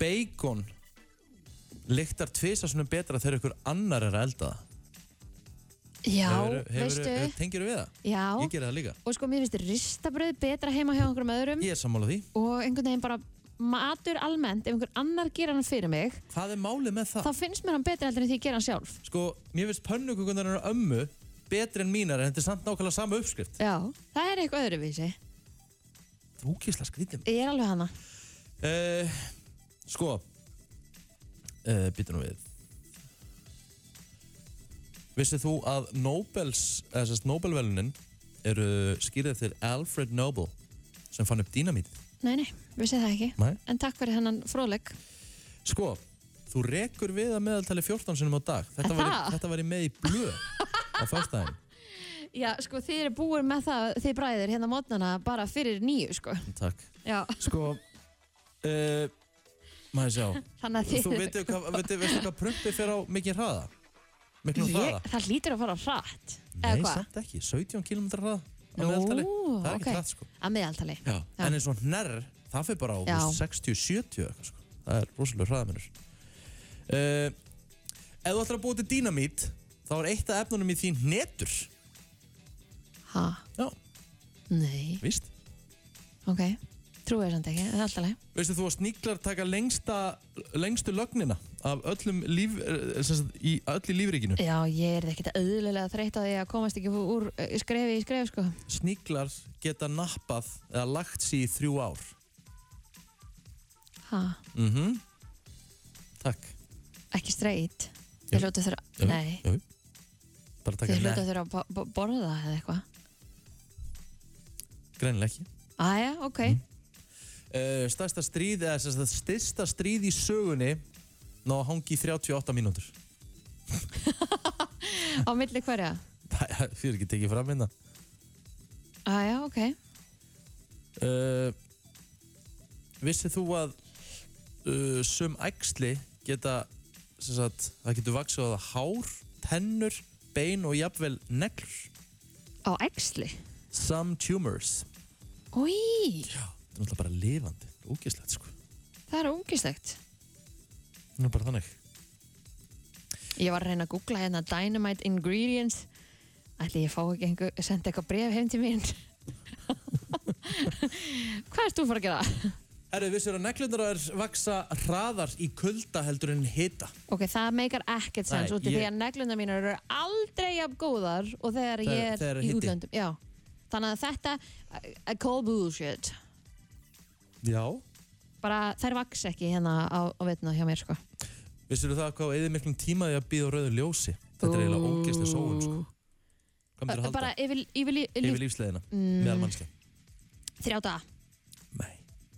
S1: Bacon lyktar tvisa svona betra þegar ykkur annar er að elda það.
S2: Já,
S1: Hefurðu- hefurðu-
S2: veistu?
S1: eh, Tengirðu við það?
S2: Já,
S1: Ég gerði það líka.
S2: og sko mér finnst ristabröð betra heima hjá einhverjum öðrum
S1: Ég er sammála því.
S2: og einhvern veginn bara matur almennt, ef einhver annar gera hann fyrir mig,
S1: Hvað er málið með það?
S2: þá finnst mér hann betra heldur en því ég gera hann sjálf.
S1: Sko, mér finnst pönnukökunar hennar ömmu betri en mínar en þetta er samt nákvæmlega sama uppskrift.
S2: Já, það er eitthvað öðruvísi.
S1: Þú kísla skrítið.
S2: Ég er alveg hana.
S1: Uh, sko, uh, býtum nú við. Vissið þú að Nobels, eða sérst Nobelvelunin eru skýrðið til Alfred Nobel sem fann upp dínamítið.
S2: Nei, nei, vissi það ekki.
S1: Nei.
S2: En takk fyrir hennan fróðleik.
S1: Sko, þú rekur við að meðaltali 14 sinum á dag. Þetta var, í,
S2: Það?
S1: þetta var í með í blöð á fyrstæðin.
S2: Já, sko, þið eru búin með það, þið bræðir hérna mótnana bara fyrir nýju, sko.
S1: Takk.
S2: Já,
S1: Sko, uh, maður sjá.
S2: þannig að þið...
S1: Þú veitir hvað, veitir, veitir hvað prumpi fer á mikið hraða? Miklu
S2: Ég,
S1: hraða?
S2: það lítur að fara hratt eða
S1: um Nei,
S2: hvað?
S1: samt ekki, 17 km hraða á
S2: Nú,
S1: meðaltali. Það er
S2: ok.
S1: ekki hratt sko.
S2: að meðaltali
S1: Já. En eins og nær, það fyrir bara á
S2: Já.
S1: 60-70 eitthvað sko. Það er rosalega hraðamennur. Uh, ef þú ætlar að búa til dínamít, þá er eitt af efnunum í þín netur.
S2: ha,
S1: Já.
S2: nei,
S1: Víst?
S2: ok trúið þess að ekki, það er alltaf leið
S1: Veistu þú að sníklar taka lengsta, lengstu lögnina af öllum líf, eh, sem sagt, í öllu lífríkinu?
S2: já, ég er ekkert öðlulega þreytt á því að komast ekki úr eh, skrefi í skref sko.
S1: Sníklar geta nappað eða lagt sér í þrjú ár.
S2: ha,
S1: Mhm. Takk.
S2: ekki streyt þið hljóta þurfa,
S1: Jú,
S2: nei
S1: jú. Bara taka
S2: þið hljóta
S1: netur.
S2: þurfa að bo- bo- borða eða eitthvað
S1: Greinilega ekki.
S2: aðja, ok,
S1: Mm. uh, stærsta stríð eða sem sagt, styrsta stríð í sögunni ná að hangi í 38 mínútur
S2: á milli hverja
S1: það fyrir ekki tekið fram hérna
S2: aðja, ok,
S1: uh, vissið þú að uh, sum æxli geta sem sagt, það getur vaksið á það hár, tennur, bein og jafnvel neglur
S2: á æxli
S1: some tumors
S2: Új,
S1: það er náttúrulega bara lifandi, ógeðslegt sko
S2: það er ógislegt
S1: það er bara þannig
S2: Ég var að reyna að googla hérna Dynamite Ingredients Ætli ég fá ekki einhver, senda eitthvað bref heim til mín Hvað ert þú að fara að gera?
S1: Erðu, vissir að neglunar vaksa hraðar í kulda heldur en hita
S2: Ok, það meikar ekkert
S1: Nei,
S2: sens út af því
S1: ég-
S2: að neglundar mínar eru aldrei jafn góðar og þegar
S1: Þegar-
S2: ég er
S1: þegar er
S2: í
S1: hiti.
S2: útlöndum Já, þannig að þetta I call bullshit
S1: já
S2: bara þær vaks ekki hérna á, á vetna hjá mér sko
S1: Vissir þú það hvað eða miklum tímaði að býða á rauðu ljósi? Þetta er eiginlega ógeðslega sóun, sko. Hvað myndir að halda?
S2: Uh, bara yfir, yfir, yfir,
S1: Yfir lífsleðina,
S2: Mm.
S1: meðal mannskja.
S2: þrjá daga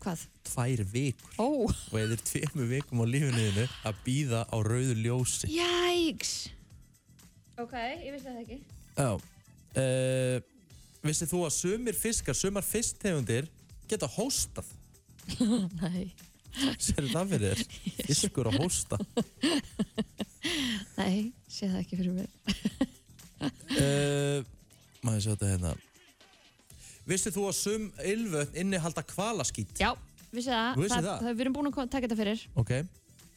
S2: Hvað?
S1: Tvær vikur.
S2: Ó,
S1: Og eða er tveimur vikum á lífinuðinu að býða á rauðu ljósi.
S2: jæks Ok, ég vissi það ekki
S1: Já. Uh, vissir þú að sumir fiskar, sumar fisktegundir geta hóstað?
S2: Nei
S1: Sér það fyrir þér? Fiskur að hósta.
S2: Nei, sé það ekki fyrir mér.
S1: Uh, maður sjá þetta hérna. Vissir þú að sum ylvötn innihalda hvalaskít?
S2: Já. Vissi það?
S1: Þú vissir
S2: það?
S1: það?
S2: Við erum búin að ko- taka þetta fyrir.
S1: Ok,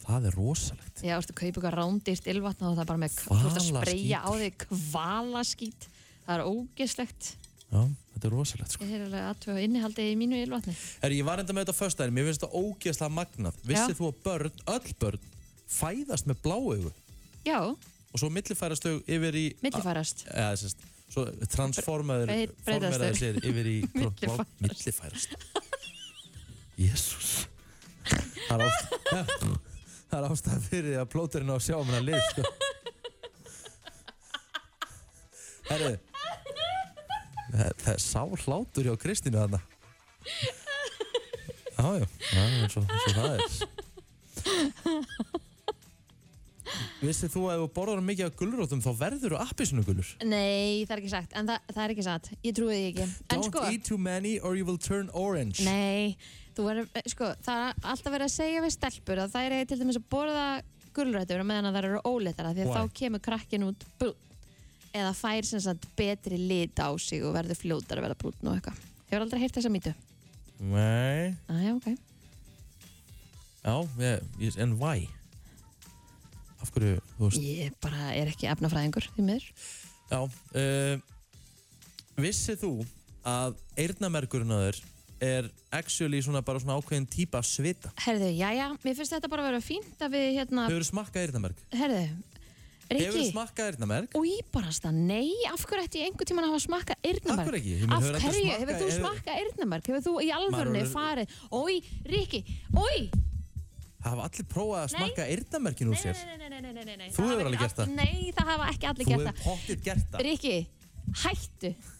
S1: það er rosalegt.
S2: Já, þú veist, þú kaupir eitthvað rándýrt ylvatna og það er bara með þú ert að spreyja á
S1: Hvalaskítur.
S2: þig kvalaskít. Það er ógeslegt.
S1: Já, þetta er rosalegt. sko.
S2: Ég er alveg aðtöða innihaldið í mínu ylvatni.
S1: Herri, ég var enda með þetta först aðeins, mér finnst þetta ógeðslega magnað. Vissið þú að börn, öll börn, fæðast með blá augu
S2: Já,
S1: og svo millifærast þau yfir í...
S2: Millifærast?
S1: A- Eða, sérst, svo transformaður,
S2: Brei- breytast
S1: formaður
S2: þau.
S1: sér yfir í...
S2: Millifærast.
S1: blá- Millifærast. Jésús. Það er ást- það er ástæða fyrir því að plóturinn á að sjá um hennar lið, sko. Herri, það það er sá hlátur hjá Kristínu þarna. Já, já, já, eins og, eins og það er. Vissið þú að ef þú borðar mikið af gulrótum þá verður þú appisinu gulur?
S2: nei, það er ekki sagt. En það, það er ekki satt. Ég trúi því ekki. En
S1: Don't
S2: sko,
S1: eat too many or you will turn orange.
S2: nei, þú verður, sko, það er alltaf verið að segja við stelpur að það er til dæmis að borða gulrætur og meðan að það eru óléttara því að
S1: Why?
S2: þá kemur krakkin út brún eða fær sem sagt betri lit á sig og verður fljótar að verða brún og eitthvað. Ég hefur aldrei heyrt þessa mýtu.
S1: Nei.
S2: Æja, ok.
S1: Já, ég, ég- en why? Af hverju, þú veist,
S2: Ég bara er ekki efnafræðingur því miður.
S1: já. Uh, vissið þú að eyrnamerkurinn að þér er actually svona bara svona ákveðin típa af svita?
S2: Herðu, jæja, mér finnst þetta bara að vera fínt að við hérna...
S1: Hefur þú smakkað eyrnamerk?
S2: Herðu,
S1: Hefur þú
S2: Riki,
S1: smakkað eyrnamerk?
S2: og ég bara stað, nei, af hverju ætti ég einhvern tíman að hafa smakkað eyrnamerk?
S1: Af hverju ekki? Ég meina,
S2: Af
S1: hefur aldrei
S2: hverju,
S1: smakkað-
S2: hefur þú
S1: hefur-
S2: smakkað eyrnamerk? Hefur þú í alvörni
S1: Maður-
S2: farið, oi, Riki, oi!
S1: Það hafa allir prófað að
S2: Nei.
S1: smakka eyrnamerkin úr sér.
S2: Nei, nei, nei, nei, nei, nei.
S1: Þú hefur
S2: Það hafa
S1: alveg
S2: ekki
S1: gert það.
S2: all- Nei, það hafa ekki allir
S1: Þú
S2: gert
S1: hefur
S2: það.
S1: pottið gert það.
S2: Riki, hættu.